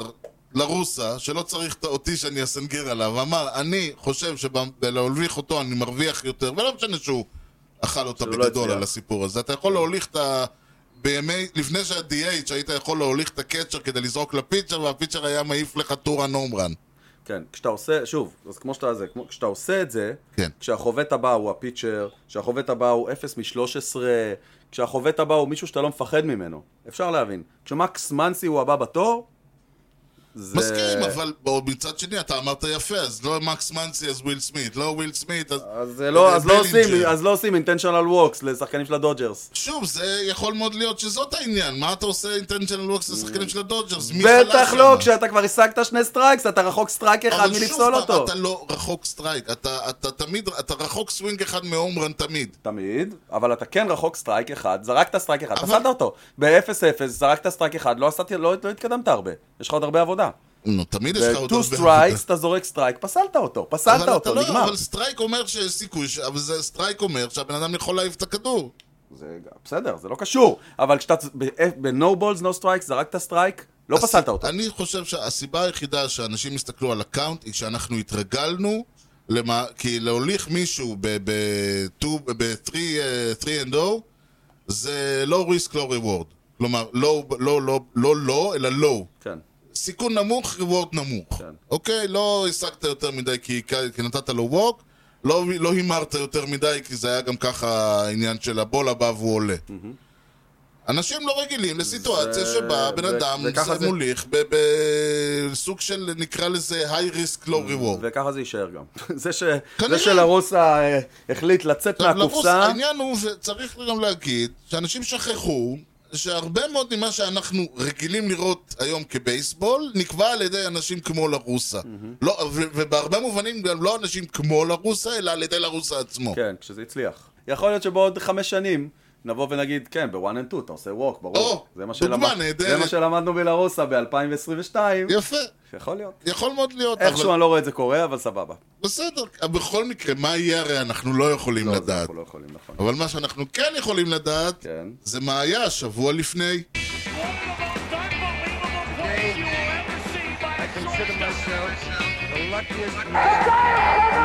Speaker 1: לרוסה, שלא צריך את- אותי שאני אסנגר עליו, אמר, אני חושב שבלהוליך אותו אני מרוויח יותר, ולא משנה שהוא אכל אותה
Speaker 2: שהוא לא
Speaker 1: בגדול
Speaker 2: הצליח.
Speaker 1: על הסיפור הזה, אתה יכול להוליך את ה... בימי, לפני שהיה DH היית יכול להוליך את הקצ'ר כדי לזרוק לפיצ'ר והפיצ'ר היה מעיף לך טורה נומרן.
Speaker 2: כן, כשאתה עושה, שוב, אז כמו שאתה זה, כמו, כשאתה עושה את זה,
Speaker 1: כן.
Speaker 2: כשהחובט הבא הוא הפיצ'ר, כשהחובט הבא הוא 0 מ-13, כשהחובט הבא הוא מישהו שאתה לא מפחד ממנו, אפשר להבין. כשמקס מנסי הוא הבא בתור, זה...
Speaker 1: מסכים, אבל בוא, מצד שני, אתה אמרת יפה, אז לא מקס מנסי, אז וויל סמית, לא וויל סמית, אז...
Speaker 2: אז, זה לא, אז, לא עושים,
Speaker 1: בלינג'ר.
Speaker 2: אז לא עושים אינטנשיונל ווקס לשחקנים של הדודג'רס.
Speaker 1: שוב, זה יכול מאוד להיות שזאת העניין, מה אתה עושה אינטנשיונל ווקס לשחקנים של הדודג'רס? מי חלש
Speaker 2: בטח לא,
Speaker 1: שם?
Speaker 2: כשאתה כבר השגת שני סטרייקס, אתה רחוק סטרייק אחד
Speaker 1: אבל שוב
Speaker 2: מלפסול
Speaker 1: פעם,
Speaker 2: אותו.
Speaker 1: אתה לא רחוק סטרייק, אתה, אתה תמיד, אתה רחוק סווינג אחד מהומרן תמיד.
Speaker 2: תמיד, אבל אתה כן רחוק סטרייק אחד, זרקת סטרייק אחד,
Speaker 1: אבל-
Speaker 2: פסדת אותו. ב-0-0, זרקת סטרייק אחד, לא, עשית, לא, לא התקדמת הרבה. יש לך עוד הרבה עבודה.
Speaker 1: נו, תמיד יש לך עוד
Speaker 2: ב-2 סטרייקס, אתה זורק סטרייק, פסלת אותו, פסלת
Speaker 1: אבל אתה
Speaker 2: אותו,
Speaker 1: לא,
Speaker 2: נגמר.
Speaker 1: אבל סטרייק אומר שיש סיכוי, ש- אבל זה סטרייק אומר שהבן אדם יכול להעיף את הכדור.
Speaker 2: זה בסדר, זה לא קשור. אבל כשאתה, ב-No Balls, No Strikes, זרקת סטרייק, לא
Speaker 1: הס-
Speaker 2: פסלת אותו.
Speaker 1: אני חושב שהסיבה היחידה שאנשים הסתכלו על הקאונט היא שאנחנו התרגלנו, למה, כי להוליך מישהו ב-3 אה, and 0 זה לא ריסק, לא ריוורד. כלומר, לא, לא, לא, לא, לא, אלא לא.
Speaker 2: כן.
Speaker 1: סיכון נמוך, ריוורד נמוך.
Speaker 2: כן.
Speaker 1: אוקיי? לא השגת יותר מדי כי, כי נתת לו ווק, לא, לא הימרת יותר מדי כי זה היה גם ככה העניין של הבול הבא והוא עולה. אנשים לא רגילים לסיטואציה
Speaker 2: זה-
Speaker 1: שבה בן
Speaker 2: זה-
Speaker 1: אדם
Speaker 2: זה ככה זה-
Speaker 1: מוליך ב- בסוג של נקרא לזה high risk low reward.
Speaker 2: וככה זה יישאר גם. זה ש- זה
Speaker 1: כנראה.
Speaker 2: שלרוסה אה, החליט לצאת
Speaker 1: עכשיו, לרוס,
Speaker 2: מהקופסה,
Speaker 1: העניין הוא שצריך גם להגיד שאנשים שכחו שהרבה מאוד ממה שאנחנו רגילים לראות היום כבייסבול נקבע על ידי אנשים כמו לרוסה. לא, ו- ובהרבה מובנים גם לא אנשים כמו לרוסה, אלא על ידי לרוסה עצמו.
Speaker 2: כן, כשזה הצליח. יכול להיות שבעוד חמש שנים נבוא ונגיד, כן, ב-one and two אתה עושה ווק, ברור.
Speaker 1: או,
Speaker 2: זה מה
Speaker 1: דוגמה
Speaker 2: שלמד-
Speaker 1: נהדרת.
Speaker 2: זה מה שלמדנו בלרוסה ב-2022.
Speaker 1: יפה,
Speaker 2: יכול להיות.
Speaker 1: יכול מאוד להיות.
Speaker 2: איכשהו
Speaker 1: אבל-
Speaker 2: אני לא רואה את זה קורה, אבל סבבה.
Speaker 1: בסדר, בכל מקרה, מה יהיה הרי אנחנו לא יכולים
Speaker 2: לא, זה
Speaker 1: לדעת.
Speaker 2: אנחנו לא יכולים, נכון.
Speaker 1: אבל מה שאנחנו כן יכולים לדעת,
Speaker 2: כן.
Speaker 1: זה מה היה השבוע לפני.
Speaker 4: I consider myself the luckiest man.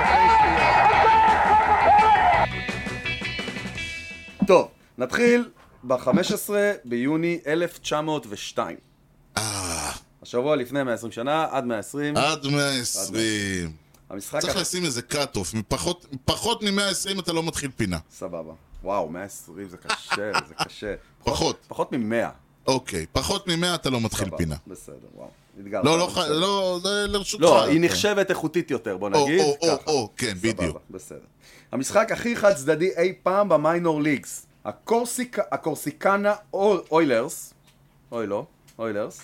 Speaker 2: טוב, נתחיל ב-15 ביוני 1902. השבוע לפני 120 שנה, עד 120,
Speaker 1: אה, עד 120.
Speaker 2: המשחק...
Speaker 1: אה, צריך
Speaker 2: ה-
Speaker 1: לשים איזה cut-off, מפחות- פחות מ-120 אתה לא מתחיל פינה.
Speaker 2: סבבה. וואו, 120 זה קשה, זה קשה.
Speaker 1: פחות.
Speaker 2: פחות מ-100.
Speaker 1: אוקיי, פחות מ-100 אתה לא מתחיל פינה.
Speaker 2: בסדר, וואו. התגרת.
Speaker 1: לא, לא, ח-
Speaker 2: בסדר.
Speaker 1: לא, זה לרשותך.
Speaker 2: לא, היא
Speaker 1: אתה.
Speaker 2: נחשבת איכותית יותר, בוא
Speaker 1: או,
Speaker 2: נגיד.
Speaker 1: או, או,
Speaker 2: ככה.
Speaker 1: או, כן, בדיוק.
Speaker 2: סבבה, בסדר. המשחק הכי חד צדדי אי פעם במיינור ליגס. הקורסיק- הקורסיקנה אוי- אוילרס, אוי לא, אוילרס,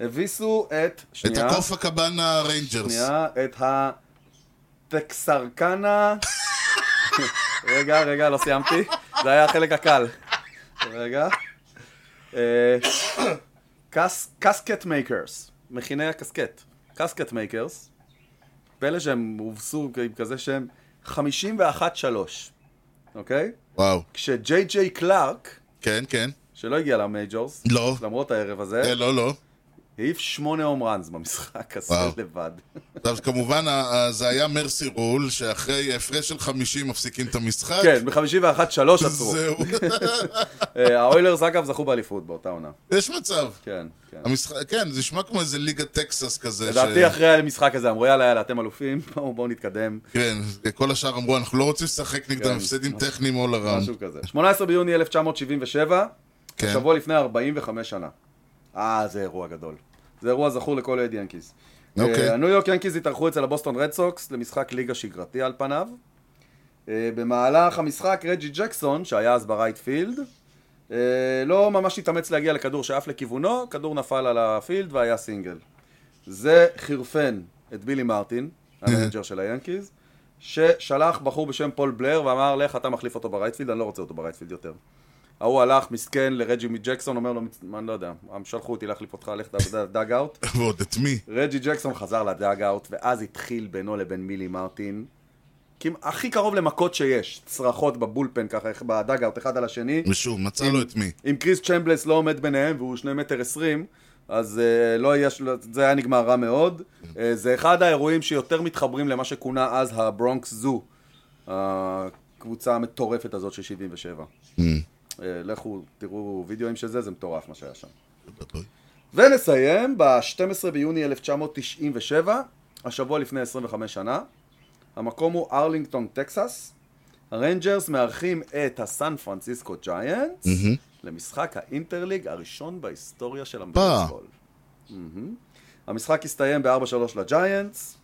Speaker 2: הביסו את,
Speaker 1: את
Speaker 2: שנייה,
Speaker 1: הקוף הקבנה ריינג'רס.
Speaker 2: שנייה, את הטקסרקנה, רגע, רגע, לא סיימתי, זה היה החלק הקל, רגע, אה, קס- קסקט מייקרס, מכיני הקסקט, קסקט מייקרס, פלא שהם הובסו עם כזה שהם 51-3, אוקיי?
Speaker 1: וואו.
Speaker 2: כשג'יי ג'יי קלארק,
Speaker 1: כן, כן.
Speaker 2: שלא הגיע למייג'ורס,
Speaker 1: לא.
Speaker 2: למרות הערב הזה,
Speaker 1: אה, לא, לא.
Speaker 2: העיף שמונה הום ראנס במשחק הזה
Speaker 1: וואו.
Speaker 2: לבד.
Speaker 1: עכשיו כמובן ה- ה- זה היה מרסי רול, שאחרי הפרש של 50 מפסיקים את המשחק.
Speaker 2: כן, ב-51-3 עצרו.
Speaker 1: זהו.
Speaker 2: אה, האוילרס אגב זכו באליפות באותה עונה.
Speaker 1: יש מצב.
Speaker 2: כן, כן.
Speaker 1: המשחק, כן, זה נשמע כמו איזה ליגה טקסס כזה.
Speaker 2: לדעתי
Speaker 1: ש-
Speaker 2: אחרי המשחק הזה אמרו יאללה יאללה אתם אלופים, בואו בואו נתקדם,
Speaker 1: כן, כל השאר אמרו, אנחנו לא רוצים לשחק נגדם,
Speaker 2: כן,
Speaker 1: הפסדים טכניים all
Speaker 2: משהו
Speaker 1: around.
Speaker 2: כזה. 18 ביוני 1977,
Speaker 1: כן.
Speaker 2: שבוע לפני 45 שנה. אה, זה אירוע גדול. זה אירוע זכור לכל אוהד ינקיז.
Speaker 1: אוקיי.
Speaker 2: אה, הניו יורק ינקיז התארחו אצל הבוסטון רד סוקס למשחק ליגה שגרתי על פניו. אה, במהלך המשחק רג'י ג'קסון, שהיה אז ברייט פילד, אה, לא ממש התאמץ להגיע לכדור שעף לכיוונו, כדור נפל על הפילד והיה סינגל. זה חירפן את בילי מרטין, המנג'ר של היאנקיז, ששלח בחור בשם פול בלר ואמר, לך אתה מחליף אותו ברייטפילד, אני לא רוצה אותו ברייטפילד יותר. ההוא הלך, מסכן, לרג'י מג'קסון, אומר לו, "מצ- מה, אני לא יודע, הם שלחו אותי להחליף אותך, לך דאג אאוט.
Speaker 1: ועוד את מי?
Speaker 2: רג'י ג'קסון חזר לדאג אאוט, ואז התחיל בינו לבין מילי מרטין. כמע- הכי קרוב למכות שיש, צרחות בבולפן ככה, איך- בדאג אאוט, אחד על השני.
Speaker 1: ושוב, מצא לו את מי.
Speaker 2: אם קריס צ'מבלס לא עומד ביניהם והוא שני מטר עשרים, אז uh, לא היה, של- זה היה נגמר רע מאוד. Uh, זה אחד האירועים שיותר מתחברים למה שכונה אז הברונקס זו, הקבוצה המטורפת הזאת של 77. Uh, לכו, תראו וידאוים של זה, זה מטורף מה שהיה שם. ונסיים ב-12 ביוני 1997, השבוע לפני 25 שנה. המקום הוא ארלינגטון, טקסס. הריינג'רס מארחים את הסן פרנסיסקו ג'יינטס למשחק האינטרליג הראשון בהיסטוריה של המבייסבול. מהמם. המשחק הסתיים ב-4-3 לג'יינטס.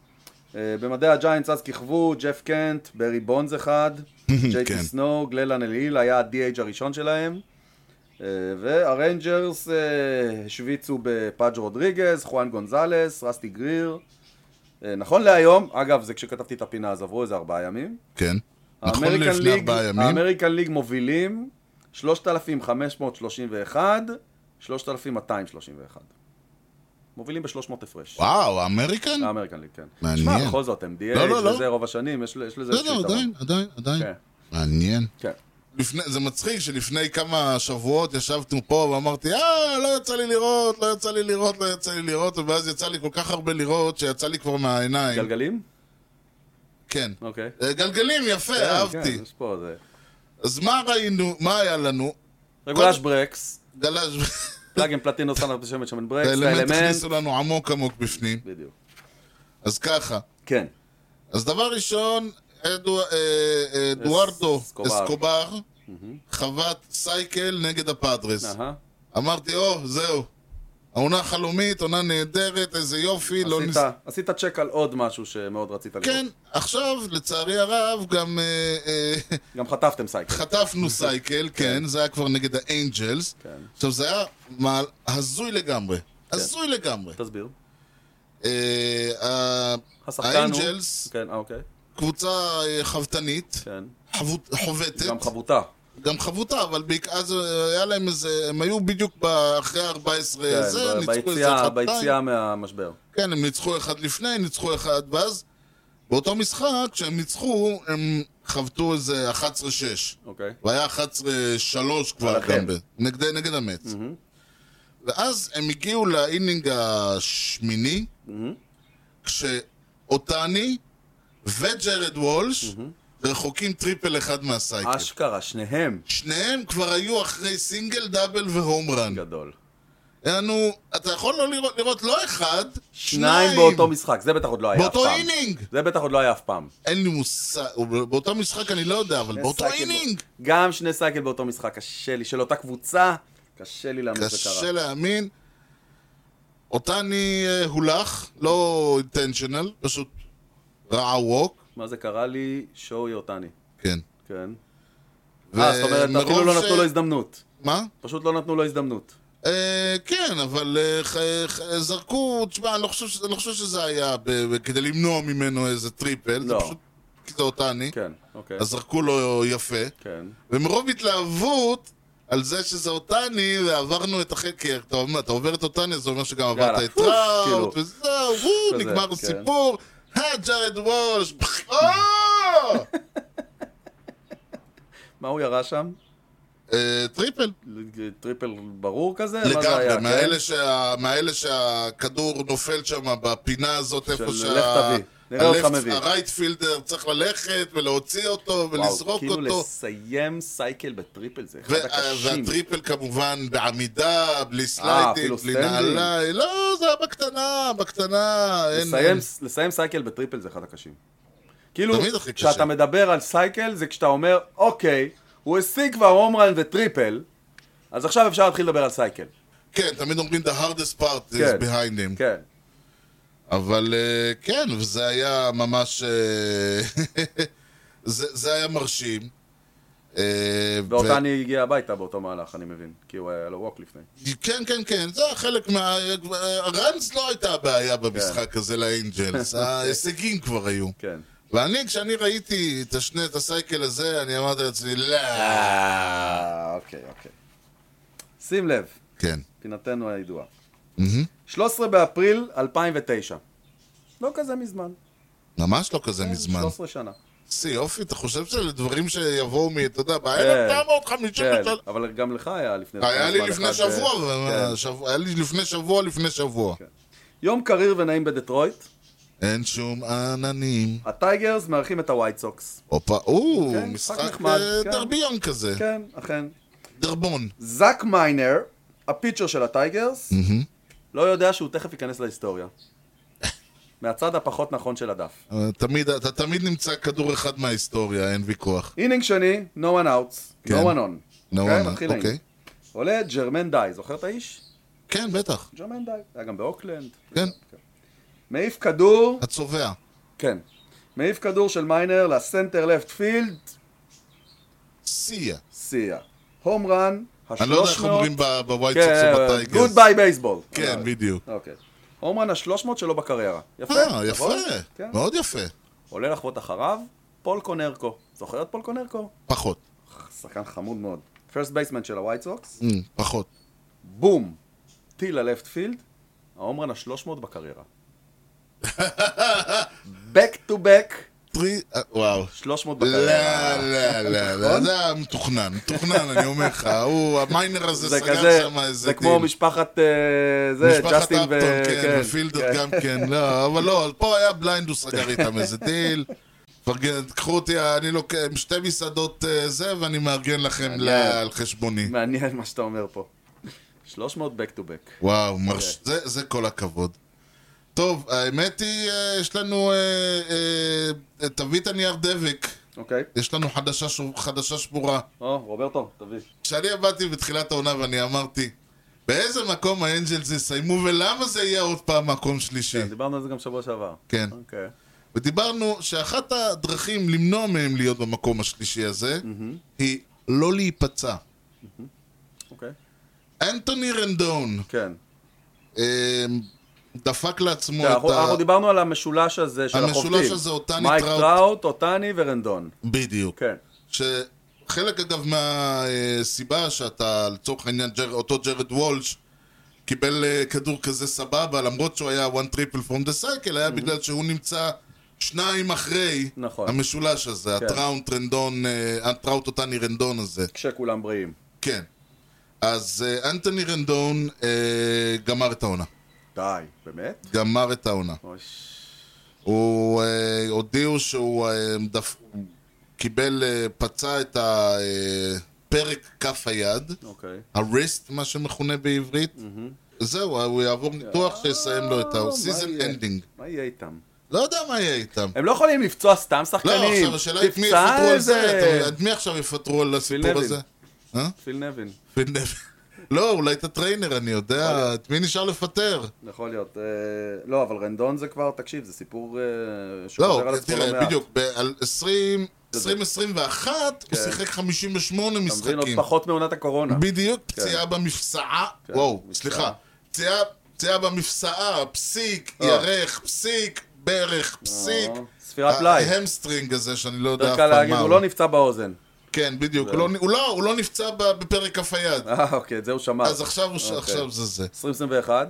Speaker 2: אה, במדעי הג'יינטס אז כיכבו ג'ף קנט, ברי בונדס אחד,
Speaker 1: כן.
Speaker 2: ג'ייקי סנואו, גללן אליל היה ה-DH הראשון שלהם. אה, והריינג'רס אה, השוויצו בפאג' רודריגז, חואן גונזלס, רסטי גריר. אה, נכון להיום, אגב, זה כשכתבתי את הפינה אז עברו איזה ארבעה ימים.
Speaker 1: כן. נכון לפני ארבעה ימים.
Speaker 2: האמריקן ליג מובילים 3,531, 3,231. מובילים ב-300 הפרש.
Speaker 1: וואו, האמריקן?
Speaker 2: האמריקן ליג, כן.
Speaker 1: מעניין.
Speaker 2: שמע, בכל זאת, הם DH,
Speaker 1: לא, לא.
Speaker 2: וזה רוב השנים, יש ל- יש לזה
Speaker 1: בסדר,
Speaker 2: שליטה.
Speaker 1: עדיין, עדיין, עדיין.
Speaker 2: כן.
Speaker 1: מעניין.
Speaker 2: כן.
Speaker 1: לפני, זה מצחיק שלפני כמה שבועות ישבנו פה ואמרתי, אה, לא יצא לי לראות, לא יצא לי לראות, לא יצא לי לראות, ואז יצא לי כל כך הרבה לראות שיצא לי כבר מהעיניים.
Speaker 2: גלגלים?
Speaker 1: כן.
Speaker 2: אוקיי.
Speaker 1: אה, גלגלים, יפה,
Speaker 2: כן,
Speaker 1: אהבתי.
Speaker 2: כן, יש פה איזה...
Speaker 1: אז מה ראינו, מה היה לנו?
Speaker 2: רגולש ברקס,
Speaker 1: גלש,
Speaker 2: פלאגן פלטינו סטנדרט בשמן שמן ברקס,
Speaker 1: האלמנט
Speaker 2: האלמנט,
Speaker 1: הכניסו לנו עמוק עמוק בפנים.
Speaker 2: בדיוק.
Speaker 1: אז ככה.
Speaker 2: כן,
Speaker 1: אז דבר ראשון, אדו, אה, אה, אדוארדו
Speaker 2: אסקובר.
Speaker 1: אסקובר חוות סייקל נגד הפאדרס.
Speaker 2: אהה.
Speaker 1: אמרתי, או, זהו. העונה חלומית, עונה נהדרת, איזה יופי, לא נס...
Speaker 2: עשית- עשית צ'ק על עוד משהו שמאוד רצית לראות.
Speaker 1: כן, עכשיו, לצערי הרב, גם אה, אה,
Speaker 2: גם חטפתם סייקל.
Speaker 1: חטפנו סייקל, כן, זה היה כבר נגד האנג'לס.
Speaker 2: כן.
Speaker 1: עכשיו, זה היה מעל- הזוי לגמרי. הזוי לגמרי.
Speaker 2: תסביר.
Speaker 1: אה, ה-
Speaker 2: השחקן הוא...
Speaker 1: האנג'לס,
Speaker 2: כן, אה, אוקיי.
Speaker 1: קבוצה אה, חבטנית,
Speaker 2: כן.
Speaker 1: חבוט- חובטת,
Speaker 2: גם חבוטה.
Speaker 1: גם חבוטה, אבל בעיקר אז אה, היה להם איזה, הם היו בדיוק ב- אחרי 14
Speaker 2: כן,
Speaker 1: זה,
Speaker 2: ב-
Speaker 1: ניצחו איזה
Speaker 2: ביציאה-
Speaker 1: אחד
Speaker 2: ביציאה מהמשבר.
Speaker 1: כן, הם ניצחו אחד לפני, ניצחו אחד, ואז באותו משחק, כשהם ניצחו, הם חבטו איזה 11-6.
Speaker 2: אוקיי.
Speaker 1: והיה 11-3 כבר
Speaker 2: עליכם.
Speaker 1: גם, ב- נגד, נגד המץ. ואז הם הגיעו לאינינג השמיני, כשאותני וג'רד וולש רחוקים טריפל אחד מהסייקל.
Speaker 2: אשכרה, שניהם.
Speaker 1: שניהם כבר היו אחרי סינגל, דאבל והום רן.
Speaker 2: גדול.
Speaker 1: יענו, אתה יכול לא לראות, לראות לא אחד,
Speaker 2: שניים באותו משחק, זה בטח עוד לא היה אף פעם.
Speaker 1: באותו אינינג.
Speaker 2: זה בטח עוד לא היה אף פעם.
Speaker 1: אין לי מושג, הוא- באותו משחק אני לא יודע, אבל באותו
Speaker 2: סייקל
Speaker 1: אינינג.
Speaker 2: בא- גם שני סייקל באותו משחק, קשה לי, של אותה קבוצה, קשה לי להאמין שזה
Speaker 1: קשה
Speaker 2: קרה.
Speaker 1: להאמין. אותני אה, הולך, לא אינטנשיונל, פשוט ראה ווק.
Speaker 2: מה זה קרה לי? שואוי אותני.
Speaker 1: כן.
Speaker 2: כן. אה, זאת אומרת, אפילו
Speaker 1: ומרוב
Speaker 2: לא
Speaker 1: ש-
Speaker 2: נתנו לו הזדמנות.
Speaker 1: מה?
Speaker 2: פשוט לא נתנו לו הזדמנות.
Speaker 1: אה, כן, אבל אה, ח- ח- זרקו, תשמע, אני לא חושב ש- אני לא חושב שזה היה ב- ב- כדי למנוע ממנו איזה טריפל, זה
Speaker 2: לא.
Speaker 1: פשוט כי זה אותני,
Speaker 2: כן, אוקיי.
Speaker 1: אז זרקו לו יפה.
Speaker 2: כן.
Speaker 1: ומרוב התלהבות על זה שזה אותני, ועברנו את החקר. אתה, אומר, אתה עובר את אותני, זה אומר שגם עברת
Speaker 2: יאללה,
Speaker 1: את
Speaker 2: פוף,
Speaker 1: ראוט,
Speaker 2: כאילו.
Speaker 1: וזהו, וואו,
Speaker 2: כזה,
Speaker 1: נגמר
Speaker 2: כן.
Speaker 1: הסיפור. אה, ג'ארד וולש, או!
Speaker 2: מה הוא ירה שם?
Speaker 1: אה, טריפל.
Speaker 2: טריפל ברור כזה? מה זה היה,
Speaker 1: לגמרי,
Speaker 2: כן?
Speaker 1: מהאלה שה- מהאלה שהכדור נופל שם בפינה הזאת, איפה
Speaker 2: של
Speaker 1: שה...
Speaker 2: לך תביא. נראה אותך
Speaker 1: הלפט-
Speaker 2: מביא.
Speaker 1: הרייט פילדר צריך ללכת ולהוציא אותו
Speaker 2: וואו,
Speaker 1: ולזרוק
Speaker 2: כאילו
Speaker 1: אותו.
Speaker 2: לסיים סייקל בטריפל זה אחד
Speaker 1: וה-
Speaker 2: הקשים. אה,
Speaker 1: והטריפל כמובן בעמידה, בלי סלייטים,
Speaker 2: אפילו
Speaker 1: בלי
Speaker 2: סטנדינג.
Speaker 1: נעליים. לא, זה היה בקטנה, בקטנה. אין-
Speaker 2: לסיים- לסיים סייקל בטריפל זה אחד הקשים. כאילו,
Speaker 1: תמיד הכי קשה.
Speaker 2: כשאתה מדבר על סייקל זה כשאתה אומר, אוקיי, הוא השיג כבר הומרן וטריפל, אז עכשיו אפשר להתחיל לדבר על סייקל.
Speaker 1: כן, תמיד אומרים the hardest part
Speaker 2: כן.
Speaker 1: is behind him.
Speaker 2: כן.
Speaker 1: אבל אה, כן, וזה היה ממש... אה, זה זה היה מרשים. אה, ו-
Speaker 2: ואותני הגיע הביתה באותו מהלך, אני מבין. כי הוא היה לו ווק לפני.
Speaker 1: כן, כן, כן, זה היה חלק מה... ראנס לא הייתה הבעיה במשחק הזה לאנג'לס, ההישגים כבר היו.
Speaker 2: כן.
Speaker 1: ואני, כשאני ראיתי את השני, את הסייקל הזה, אני אמרתי לעצמי, לא.
Speaker 2: אה, אוקיי, אוקיי. שים לב,
Speaker 1: כן.
Speaker 2: פינתנו הידועה.
Speaker 1: מהמם.
Speaker 2: 13 באפריל 2009. לא כזה מזמן.
Speaker 1: ממש לא כזה מזמן.
Speaker 2: 13 שנה.
Speaker 1: סי, יופי, אתה חושב שאלה דברים שיבואו מ... אתה יודע,
Speaker 2: כן,
Speaker 1: ב-1953...
Speaker 2: אבל גם לך היה לפני...
Speaker 1: היה לי
Speaker 2: זמן
Speaker 1: לפני
Speaker 2: אחד,
Speaker 1: שבוע,
Speaker 2: אה,
Speaker 1: אבל-
Speaker 2: כן.
Speaker 1: שבוע- היה לי לפני שבוע, לפני שבוע.
Speaker 2: יום קריר ונעים בדטרויט,
Speaker 1: אין שום עננים.
Speaker 2: הטייגרס מארחים את הווייט סוקס.
Speaker 1: הופה, או,
Speaker 2: כן, משחק
Speaker 1: משחק
Speaker 2: נחמד,
Speaker 1: אה,
Speaker 2: כן.
Speaker 1: דרביון כזה.
Speaker 2: כן, אכן.
Speaker 1: דרבון.
Speaker 2: זאק מיינר, הפיצ'ר של הטייגרס, לא יודע שהוא תכף ייכנס להיסטוריה. מהצד הפחות נכון של הדף.
Speaker 1: אה, תמיד, אתה תמיד נמצא כדור אחד מההיסטוריה, אין ויכוח.
Speaker 2: אינינג שני, no one outs, no
Speaker 1: כן.
Speaker 2: one on.
Speaker 1: נו,
Speaker 2: כן,
Speaker 1: אנה,
Speaker 2: מתחיל האינינג.
Speaker 1: אוקיי.
Speaker 2: עולה ג'רמן די, זוכר את האיש?
Speaker 1: כן, בטח.
Speaker 2: ג'רמן די, היה גם באוקלנד.
Speaker 1: כן.
Speaker 2: מעיף כדור,
Speaker 1: הצובע.
Speaker 2: כן. מעיף כדור של מיינר לסנטר לפט פילד,
Speaker 1: סיה.
Speaker 2: סיה. הום רן, השלוש מאות...
Speaker 1: אני לא יודע איך אומרים ב- בווייט סוקס או
Speaker 2: כן,
Speaker 1: בטייגרס.
Speaker 2: גוד ביי בייסבול.
Speaker 1: כן, בדיוק.
Speaker 2: אוקיי. הומרן השלוש מאות שלו בקריירה. יפה.
Speaker 1: אה,
Speaker 2: נכון?
Speaker 1: יפה.
Speaker 2: כן.
Speaker 1: מאוד יפה.
Speaker 2: עולה לחוות אחריו, פול קונרקו. זוכר את פול קונרקו?
Speaker 1: פחות.
Speaker 2: שחקן חמוד מאוד. פרסט בייסמן של הווייט סוקס.
Speaker 1: אמ, פחות.
Speaker 2: בום. טיל ללפט פילד. ההומרן השלוש מאות בקריירה. back to back,
Speaker 1: טרי... אה, וואו.
Speaker 2: 300
Speaker 1: לא,
Speaker 2: בקריירה.
Speaker 1: לא, לא, לא,
Speaker 2: נכון?
Speaker 1: זה היה מתוכנן, מתוכנן, אני אומר לך, הוא, המיינר הזה
Speaker 2: זה
Speaker 1: סגר
Speaker 2: כזה,
Speaker 1: שם איזה
Speaker 2: זה
Speaker 1: טיל.
Speaker 2: כמו משפחת, אה, זה,
Speaker 1: משפחת
Speaker 2: ג'סטין
Speaker 1: אפטון,
Speaker 2: ו...
Speaker 1: כן,
Speaker 2: כן,
Speaker 1: ופילדר
Speaker 2: כן.
Speaker 1: גם כן, לא, אבל לא, אבל פה היה בליינד, הוא סגר איתם איזה דיל. פרגן, קחו אותי, אני לוקח שתי מסעדות אה, זה, ואני מארגן לכם ל- על חשבוני.
Speaker 2: כן, מעניין מה שאתה אומר פה. 300 back to back.
Speaker 1: וואו, מרש... זה, זה כל הכבוד. טוב, האמת היא, אה, יש לנו... אה, אה, תביא את הנייר דבק,
Speaker 2: אוקיי.
Speaker 1: יש לנו חדשה, ש... חדשה שבורה.
Speaker 2: או, רוברטו, תביא.
Speaker 1: כשאני עבדתי בתחילת העונה ואני אמרתי, באיזה מקום האנג'לס יסיימו ולמה זה יהיה עוד פעם מקום שלישי?
Speaker 2: דיברנו על זה גם שבוע שעבר.
Speaker 1: כן.
Speaker 2: אוקיי.
Speaker 1: ודיברנו שאחת הדרכים למנוע מהם להיות במקום השלישי הזה, היא לא להיפצע.
Speaker 2: אוקיי.
Speaker 1: אנטוני רנדון
Speaker 2: כן.
Speaker 1: אה, דפק לעצמו
Speaker 2: כן,
Speaker 1: את
Speaker 2: אנחנו
Speaker 1: ה...
Speaker 2: אנחנו דיברנו על המשולש הזה של
Speaker 1: המשולש
Speaker 2: החובטים.
Speaker 1: הזה, אותני,
Speaker 2: מייק
Speaker 1: טראוט.
Speaker 2: טראוט, אותני ורנדון.
Speaker 1: בדיוק.
Speaker 2: כן.
Speaker 1: שחלק אגב מהסיבה שאתה לצורך העניין ג'ר, אותו ג'רד וולש קיבל אה, כדור כזה סבבה למרות שהוא היה one triple from the cycle היה בגלל שהוא נמצא שניים אחרי
Speaker 2: Mm-hmm. נכון.
Speaker 1: המשולש הזה,
Speaker 2: כן.
Speaker 1: הטראוט רנדון, אה, הטראוט אותני רנדון הזה,
Speaker 2: כשכולם בריאים.
Speaker 1: כן. אז אה, אנטוני רנדון אה, גמר את העונה,
Speaker 2: די. באמת?
Speaker 1: גמר את העונה.
Speaker 2: אוי,
Speaker 1: הוא אה, הודיעו שהוא אה, דף, קיבל, אה, פצע את הפרק כף היד,
Speaker 2: אוקיי.
Speaker 1: הריסט, מה שמכונה בעברית. זהו, אה, הוא יעבור ניתוח שיסיים לו את ה... סיזן
Speaker 2: אה, יהיה?
Speaker 1: אנדינג.
Speaker 2: מה יהיה איתם?
Speaker 1: לא יודע מה יהיה איתם.
Speaker 2: הם לא יכולים לפצוע סתם
Speaker 1: לא,
Speaker 2: שחקנים.
Speaker 1: עכשיו השאלה היא את מי
Speaker 2: תפצע
Speaker 1: יפטרו על זה,
Speaker 2: איזה-
Speaker 1: אתה יודע, את מי עכשיו יפטרו על הסיפור
Speaker 2: נבין.
Speaker 1: הזה? אה?
Speaker 2: פיל נבין.
Speaker 1: פיל נבין. לא, אולי את הטריינר, אני
Speaker 2: אוקיי.
Speaker 1: יודע, את מי נשאר לפטר?
Speaker 2: יכול להיות. אה, לא, אבל רנדון זה כבר, תקשיב, זה סיפור אה,
Speaker 1: לא,
Speaker 2: שחוזר על עצמו לא
Speaker 1: תראה,
Speaker 2: מעט.
Speaker 1: בדיוק, ב-2021 הוא שיחק 58
Speaker 2: כן. אתה מבין, עוד
Speaker 1: משחקים.
Speaker 2: פחות מעונת הקורונה.
Speaker 1: בדיוק, פציעה במפסעה,
Speaker 2: כן,
Speaker 1: וואו,
Speaker 2: מפסעה.
Speaker 1: סליחה, פציעה- פציעה במפסעה, פסיק,
Speaker 2: אה.
Speaker 1: ירך, פסיק, ברך, פסיק.
Speaker 2: אה, ספירת פלאי.
Speaker 1: ההמסטרינג הזה שאני לא יודע
Speaker 2: יותר
Speaker 1: אף
Speaker 2: קל
Speaker 1: פעם
Speaker 2: להגיד,
Speaker 1: מה
Speaker 2: הוא
Speaker 1: הוא.
Speaker 2: לא נפצע באוזן.
Speaker 1: כן, בדיוק, הוא לא- הוא לא- הוא לא נפצע ב- בפרק כף היד.
Speaker 2: אה, אוקיי, את זה הוא שמע.
Speaker 1: אז עכשיו הוא ש-
Speaker 2: אוקיי.
Speaker 1: עכשיו זה זה.
Speaker 2: 2021.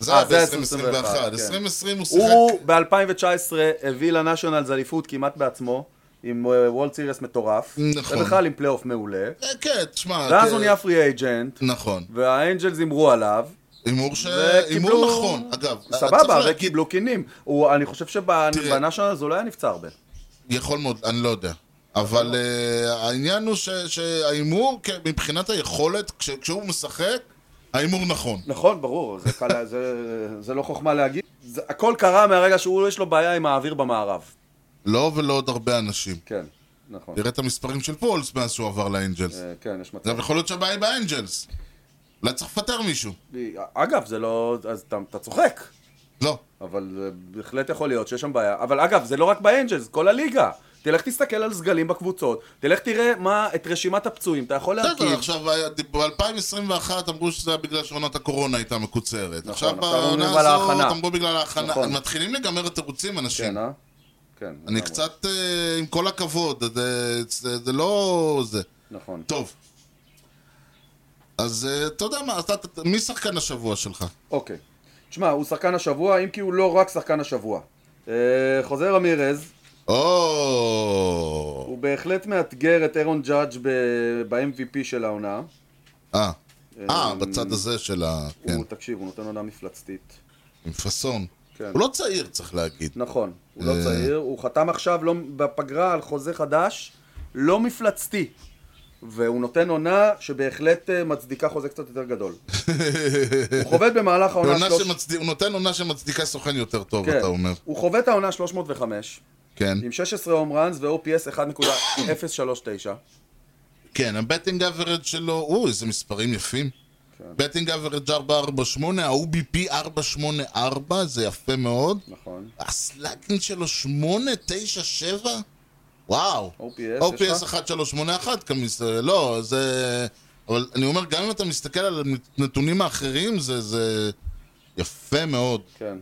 Speaker 1: זה
Speaker 2: אה,
Speaker 1: היה
Speaker 2: זה
Speaker 1: ב-2021.
Speaker 2: כן.
Speaker 1: 2020 הוא שיחק...
Speaker 2: הוא ב-2019 הביא לנשיונלס אליפות כמעט בעצמו, עם וולד סיריס מטורף,
Speaker 1: נכון.
Speaker 2: ובכלל עם פלייאוף מעולה,
Speaker 1: אה, כן, תשמע...
Speaker 2: ואז
Speaker 1: כן,
Speaker 2: הוא נהיה פרי אייג'נט,
Speaker 1: נכון.
Speaker 2: והאנג'לס הימרו עליו,
Speaker 1: הימור ש...
Speaker 2: וקיבלו-
Speaker 1: הימור נכון, אגב. צריך
Speaker 2: סבבה,
Speaker 1: להגיד-
Speaker 2: וקיבלו קינים. הוא- אני חושב
Speaker 1: תראה.
Speaker 2: שבנשנה הזו לא היה נפצע הרבה.
Speaker 1: יכול מאוד, אני לא יודע. אבל אה, העניין הוא ש- שההימור, כ- מבחינת היכולת, כש- כשהוא משחק, ההימור נכון.
Speaker 2: נכון, ברור, זה קל- זה- זה לא חוכמה להגיד. זה- הכל קרה מהרגע שהוא, יש לו בעיה עם האוויר במערב.
Speaker 1: לא ולא עוד הרבה אנשים.
Speaker 2: כן, נכון.
Speaker 1: תראה את המספרים של פולס מאז שהוא עבר לאנג'לס.
Speaker 2: אה, כן, יש מצב.
Speaker 1: גם יכול להיות שהבעיה היא באנג'לס. אולי צריך לפטר מישהו.
Speaker 2: אגב, זה לא... אז אתה- אתה צוחק.
Speaker 1: לא.
Speaker 2: אבל זה בהחלט יכול להיות שיש שם בעיה. אבל אגב, זה לא רק באנג'לס, כל הליגה. תלך תסתכל על סגלים בקבוצות, תלך תראה מה, את רשימת הפצועים, אתה יכול
Speaker 1: בסדר,
Speaker 2: להרכיב.
Speaker 1: עכשיו, אה, ב-2021 אמרו שזה היה בגלל שעונת הקורונה הייתה מקוצרת. עכשיו
Speaker 2: עכשיו אומרים
Speaker 1: בעונה
Speaker 2: נכון, על
Speaker 1: הזאת
Speaker 2: ההכנה.
Speaker 1: אמרו בגלל ההכנה.
Speaker 2: נכון.
Speaker 1: מתחילים לגמר התירוצים, אנשים.
Speaker 2: כן, אה? כן.
Speaker 1: אני
Speaker 2: לגמרי.
Speaker 1: קצת, אה, עם כל הכבוד, זה- זה זה לא... זה.
Speaker 2: נכון.
Speaker 1: טוב. אז אה, אתה יודע מה, אתה- אתה- מי שחקן השבוע שלך?
Speaker 2: אוקיי. תשמע, הוא שחקן השבוע, אם כי הוא לא רק שחקן השבוע. אה, חוזר אמירז,
Speaker 1: או...
Speaker 2: הוא בהחלט מאתגר את אירון ג'אדג' ב- ב-MVP של העונה.
Speaker 1: אה, אה,
Speaker 2: אמ,
Speaker 1: בצד הזה של ה... כן,
Speaker 2: הוא, תקשיב, הוא נותן עונה מפלצתית.
Speaker 1: עם פאסון.
Speaker 2: כן.
Speaker 1: הוא לא צעיר, צריך להגיד.
Speaker 2: נכון, הוא לא
Speaker 1: אה.
Speaker 2: צעיר, הוא חתם עכשיו לא, בפגרה על חוזה חדש, לא מפלצתי. והוא נותן עונה שבהחלט אה, מצדיקה חוזה קצת יותר גדול. הוא חובט במהלך העונה...
Speaker 1: עונה
Speaker 2: שלוש-
Speaker 1: שמצדיק- הוא נותן עונה שמצדיקה סוכן יותר טוב,
Speaker 2: כן.
Speaker 1: אתה אומר.
Speaker 2: הוא חובט את העונה 305,
Speaker 1: כן.
Speaker 2: עם 16 הום ראנס ו-OPS 1.039.
Speaker 1: כן, הבטינג אברד שלו, או, איזה מספרים יפים.
Speaker 2: כן.
Speaker 1: בטינג אברד 448, ה-OBP 484, זה יפה מאוד.
Speaker 2: נכון.
Speaker 1: הסלאגינג שלו 897? וואו.
Speaker 2: OPS, יש
Speaker 1: OPS
Speaker 2: לך?
Speaker 1: 1381, כמיס... לא, זה... אבל אני אומר, גם אם אתה מסתכל על הנתונים האחרים, זה... זה... יפה מאוד.
Speaker 2: כן.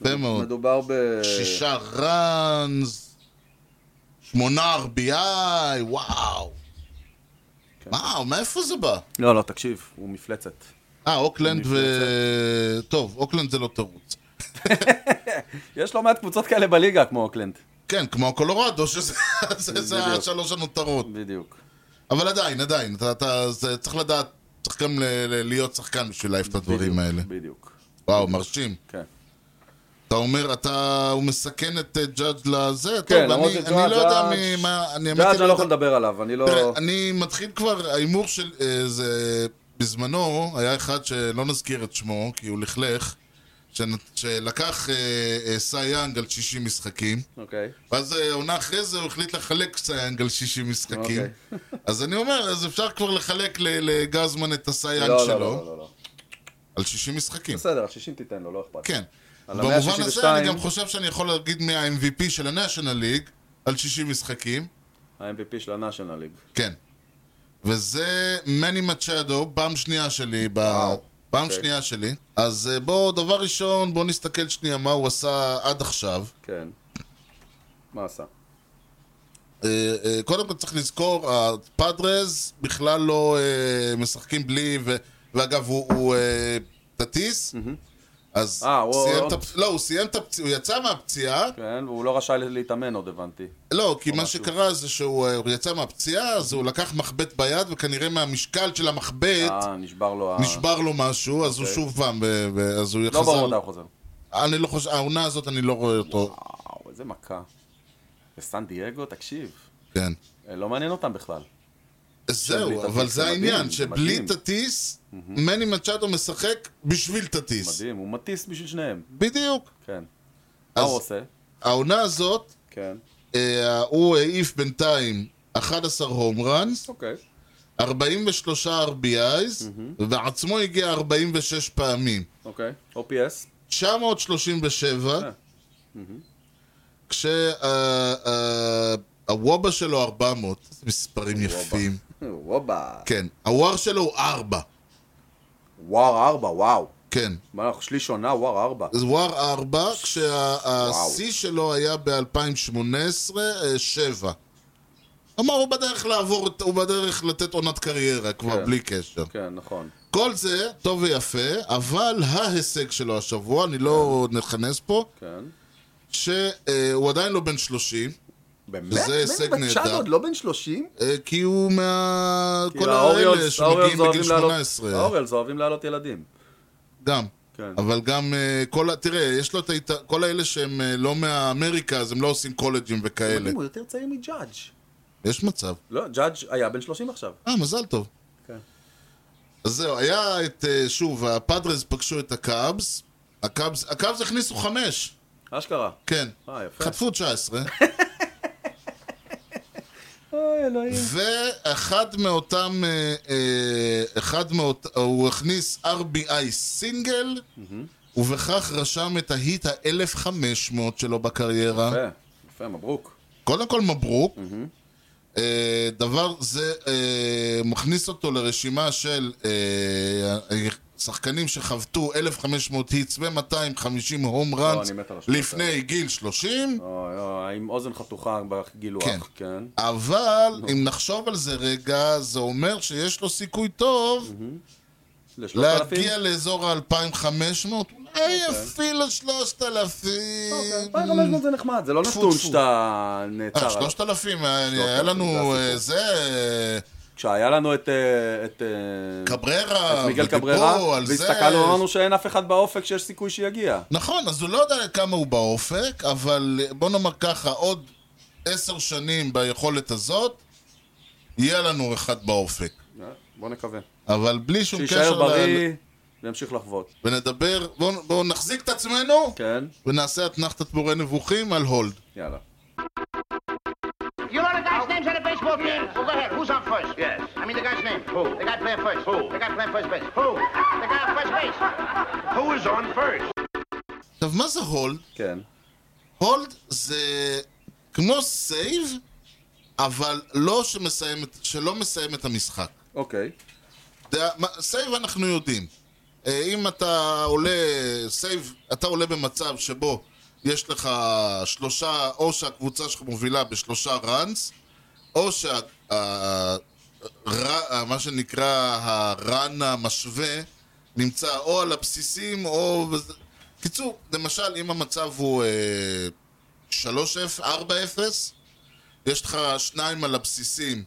Speaker 1: יפה מאוד.
Speaker 2: מדובר ב...
Speaker 1: שישה ראנס, שמונה RBI, וואו.
Speaker 2: כן.
Speaker 1: וואו, מאיפה זה בא?
Speaker 2: לא, לא, תקשיב, הוא מפלצת.
Speaker 1: אה, אוקלנד ו... טוב, אוקלנד זה לא תירוץ.
Speaker 2: יש לא מעט קבוצות כאלה בליגה, כמו אוקלנד.
Speaker 1: כן, כמו קולורדו, שזה זה- זה
Speaker 2: בדיוק.
Speaker 1: השלוש הנותרות.
Speaker 2: בדיוק.
Speaker 1: אבל עדיין, עדיין, אתה- אתה זה- צריך לדעת, צריך גם ל- ל- להיות שחקן בשביל להעיף את הדברים
Speaker 2: בדיוק,
Speaker 1: האלה.
Speaker 2: בדיוק.
Speaker 1: וואו, מרשים.
Speaker 2: כן.
Speaker 1: אתה אומר, אתה... הוא מסכן את אה, ג'אדג' לזה?
Speaker 2: כן,
Speaker 1: טוב,
Speaker 2: למרות
Speaker 1: אני-
Speaker 2: שג'אדג'-
Speaker 1: אני לא יודע
Speaker 2: ג'אדג'-
Speaker 1: ממה... אני האמת היא
Speaker 2: ג'אדג' אני לא
Speaker 1: יודע-
Speaker 2: יכול לדבר עליו, אני לא...
Speaker 1: תראה, אני מתחיל כבר, ההימור של אה, זה... בזמנו היה אחד שלא נזכיר את שמו, כי הוא לכלך, שנ- שלקח אה, אה, סייאנג על 60 משחקים,
Speaker 2: אוקיי.
Speaker 1: ואז אה, עונה אחרי זה הוא החליט לחלק סייאנג על 60 משחקים.
Speaker 2: אוקיי.
Speaker 1: אז אני אומר, אז אפשר כבר לחלק ל- לגזמן את
Speaker 2: לא,
Speaker 1: הסייאנג
Speaker 2: לא,
Speaker 1: שלו,
Speaker 2: לא, לא, לא.
Speaker 1: על 60 משחקים.
Speaker 2: בסדר, 60 תיתן לו, לא אכפת.
Speaker 1: כן.
Speaker 2: על
Speaker 1: במובן הזה אני
Speaker 2: 162.
Speaker 1: גם חושב שאני יכול להגיד מי ה-MVP של ה-National League על 60 משחקים.
Speaker 2: ה-MVP של ה-National League.
Speaker 1: כן. וזה מני מצ'אדו, פעם שנייה שלי, ב...
Speaker 2: וואו.
Speaker 1: פעם
Speaker 2: אוקיי.
Speaker 1: שנייה שלי. אז אה, בוא, דבר ראשון, בוא נסתכל שנייה מה הוא עשה עד עכשיו.
Speaker 2: כן. מה עשה?
Speaker 1: אה, אה, קודם כל צריך לזכור, הפאדרז בכלל לא אה, משחקים בלי, ו... ואגב, הוא- הוא אה, טטיס, אז
Speaker 2: אה, הוא-
Speaker 1: סיים
Speaker 2: הוא-
Speaker 1: את הפ- לא, הוא סיים את הפציעה, הוא יצא מהפציעה,
Speaker 2: כן, והוא לא רשאי להתאמן עוד, הבנתי.
Speaker 1: לא, כי מה
Speaker 2: משהו.
Speaker 1: שקרה זה שהוא אה, הוא יצא מהפציעה, אז הוא לקח מחבט ביד, וכנראה מהמשקל של המחבט...
Speaker 2: אה, נשבר לו ה...
Speaker 1: נשבר לו משהו, אז הוא
Speaker 2: אוקיי.
Speaker 1: שוב פעם, ב- ב- אז הוא
Speaker 2: לא ברור
Speaker 1: יחזר.
Speaker 2: מתי הוא חוזר.
Speaker 1: אני לא חושב, העונה הזאת אני לא רואה אותו,
Speaker 2: וואו, איזה מכה. וסן דייגו, תקשיב.
Speaker 1: כן.
Speaker 2: אה, לא מעניין אותם בכלל.
Speaker 1: זהו,
Speaker 2: בלי
Speaker 1: אבל
Speaker 2: תטיס,
Speaker 1: זה
Speaker 2: זה
Speaker 1: העניין,
Speaker 2: מדהים,
Speaker 1: שבלי
Speaker 2: מדהים.
Speaker 1: תטיס, מני מצ'אדו משחק בשביל תטיס.
Speaker 2: מדהים, הוא מטיס בשביל שניהם.
Speaker 1: בדיוק.
Speaker 2: כן.
Speaker 1: אז
Speaker 2: מה הוא עושה?
Speaker 1: העונה הזאת,
Speaker 2: כן.
Speaker 1: אה, הוא העיף בינתיים 11 הום ראנס,
Speaker 2: אוקיי.
Speaker 1: 43 RBIs, ובעצמו הגיע 46 פעמים.
Speaker 2: אוקיי. OPS?
Speaker 1: 937,
Speaker 2: אה.
Speaker 1: כשהוובה אה, שלו 400, איזה מספרים יפים.
Speaker 2: וובה.
Speaker 1: כן, הוואר שלו הוא 4,
Speaker 2: וואר ארבע, וואו.
Speaker 1: כן.
Speaker 2: מה, אנחנו שליש עונה, וואר ארבע.
Speaker 1: אז וואר 4, כשהשיא שלו היה ב-2018, 7. אה, כלומר, הוא בדרך לעבור, את- הוא בדרך לתת עונת קריירה, כבר
Speaker 2: כן.
Speaker 1: בלי קשר.
Speaker 2: כן, נכון.
Speaker 1: כל זה טוב ויפה, אבל ההישג שלו השבוע, אני לא נכנס פה,
Speaker 2: כן.
Speaker 1: שהוא עדיין לא בן 30,
Speaker 2: באמת?
Speaker 1: שזה הישג
Speaker 2: בני בת תשע
Speaker 1: נהדר.
Speaker 2: עוד לא בן 30?
Speaker 1: אה, כי הוא מה...
Speaker 2: כאילו,
Speaker 1: כל האלה
Speaker 2: האוריולס- האוריולס
Speaker 1: שמגיעים בגיל
Speaker 2: אוהבים לעלות-
Speaker 1: 18.
Speaker 2: האוריולס אוהבים להעלות ילדים.
Speaker 1: גם.
Speaker 2: כן.
Speaker 1: אבל גם אה, כל ה... תראה, יש לו את היית... כל האלה שהם אה, לא מהאמריקה, אז הם לא עושים קולג'ים וכאלה.
Speaker 2: מדהים, הוא יותר צעיר מג'אדג'.
Speaker 1: יש מצב.
Speaker 2: לא, ג'אדג' היה בן 30 עכשיו.
Speaker 1: אה, מזל טוב.
Speaker 2: כן.
Speaker 1: אז זהו, היה את, אה, שוב, הפאדרס פגשו את הקאבס, הקאבס, הקאבס הכניסו חמש,
Speaker 2: אשכרה.
Speaker 1: כן.
Speaker 2: אה, יפה.
Speaker 1: חטפו 19,
Speaker 2: אוי, אה, אלוהים.
Speaker 1: ואחד מאותם, אה, אה, אחד מאות, הוא הכניס RBI סינגל, ובכך רשם את ההיט ה-1500 שלו בקריירה.
Speaker 2: יפה, יפה, מברוק.
Speaker 1: קודם כל מברוק. אה, דבר זה אה, מכניס אותו לרשימה של אה, שחקנים שחבטו 1,500 היטס ו-250 הום ראנס
Speaker 2: לא, אני מת על לא. השטויות
Speaker 1: לפני גיל 30,
Speaker 2: אוי, אוי, עם אוזן חתוכה בגילוח.
Speaker 1: כן.
Speaker 2: כן.
Speaker 1: אבל אם נחשוב על זה רגע, זה אומר שיש לו סיכוי טוב
Speaker 2: ל-3,000?
Speaker 1: להגיע לאזור ה-2,500,
Speaker 2: אוקיי.
Speaker 1: אולי אפילו 3,000.
Speaker 2: 2500 אוקיי, זה נחמד, זה לא
Speaker 1: טפו,
Speaker 2: נתון
Speaker 1: טפו.
Speaker 2: שאתה נעצר
Speaker 1: אה,
Speaker 2: עליו.
Speaker 1: 3,000, היה לנו
Speaker 2: זה
Speaker 1: אה,
Speaker 2: הסיפור.
Speaker 1: זה... אה,
Speaker 2: כשהיה לנו את... אה, את אה,
Speaker 1: קבררה,
Speaker 2: את מיגל
Speaker 1: ודיברו
Speaker 2: קבררה,
Speaker 1: על זה.
Speaker 2: והסתכלנו, אמרנו שאין אף אחד באופק שיש סיכוי שיגיע.
Speaker 1: נכון, אז הוא לא יודע כמה הוא באופק, אבל אה, בוא נאמר ככה, עוד עשר שנים ביכולת הזאת, יהיה לנו אחד באופק.
Speaker 2: אה, בוא נקווה.
Speaker 1: אבל בלי שום
Speaker 2: שיישאר
Speaker 1: קשר... ל-
Speaker 2: בריא, וימשיך לחוות.
Speaker 1: ונדבר, בואו בוא נחזיק את עצמנו,
Speaker 2: כן?
Speaker 1: ונעשה אתנחתת בורא נבוכים על הולד.
Speaker 2: יאללה.
Speaker 5: You know the guy's names on the baseball team? Well, Oh, go ahead. Who's on first? Yes. I mean the guy's name. Who? The guy playing first. Who? The guy playing first base. Who? The guy on first base. Who is on first?
Speaker 1: עכשיו, מה זה הולד?
Speaker 2: כן.
Speaker 1: הולד זה כמו סייב, אבל לא שמסיים, את- שלא מסיים את המשחק.
Speaker 2: אוקיי.
Speaker 1: אתה- מה- סייב אנחנו יודעים. אה, אם אתה עולה, סייב, אתה עולה במצב שבו יש לך שלושה, או שהקבוצה שלך מובילה בשלושה ראנס, או שה... ה- ר- אה, מה שנקרא הרן המשווה נמצא או על הבסיסים או... בזה. קיצור, למשל, אם המצב הוא אה, 3-0, 4-0, יש לך שניים על הבסיסים,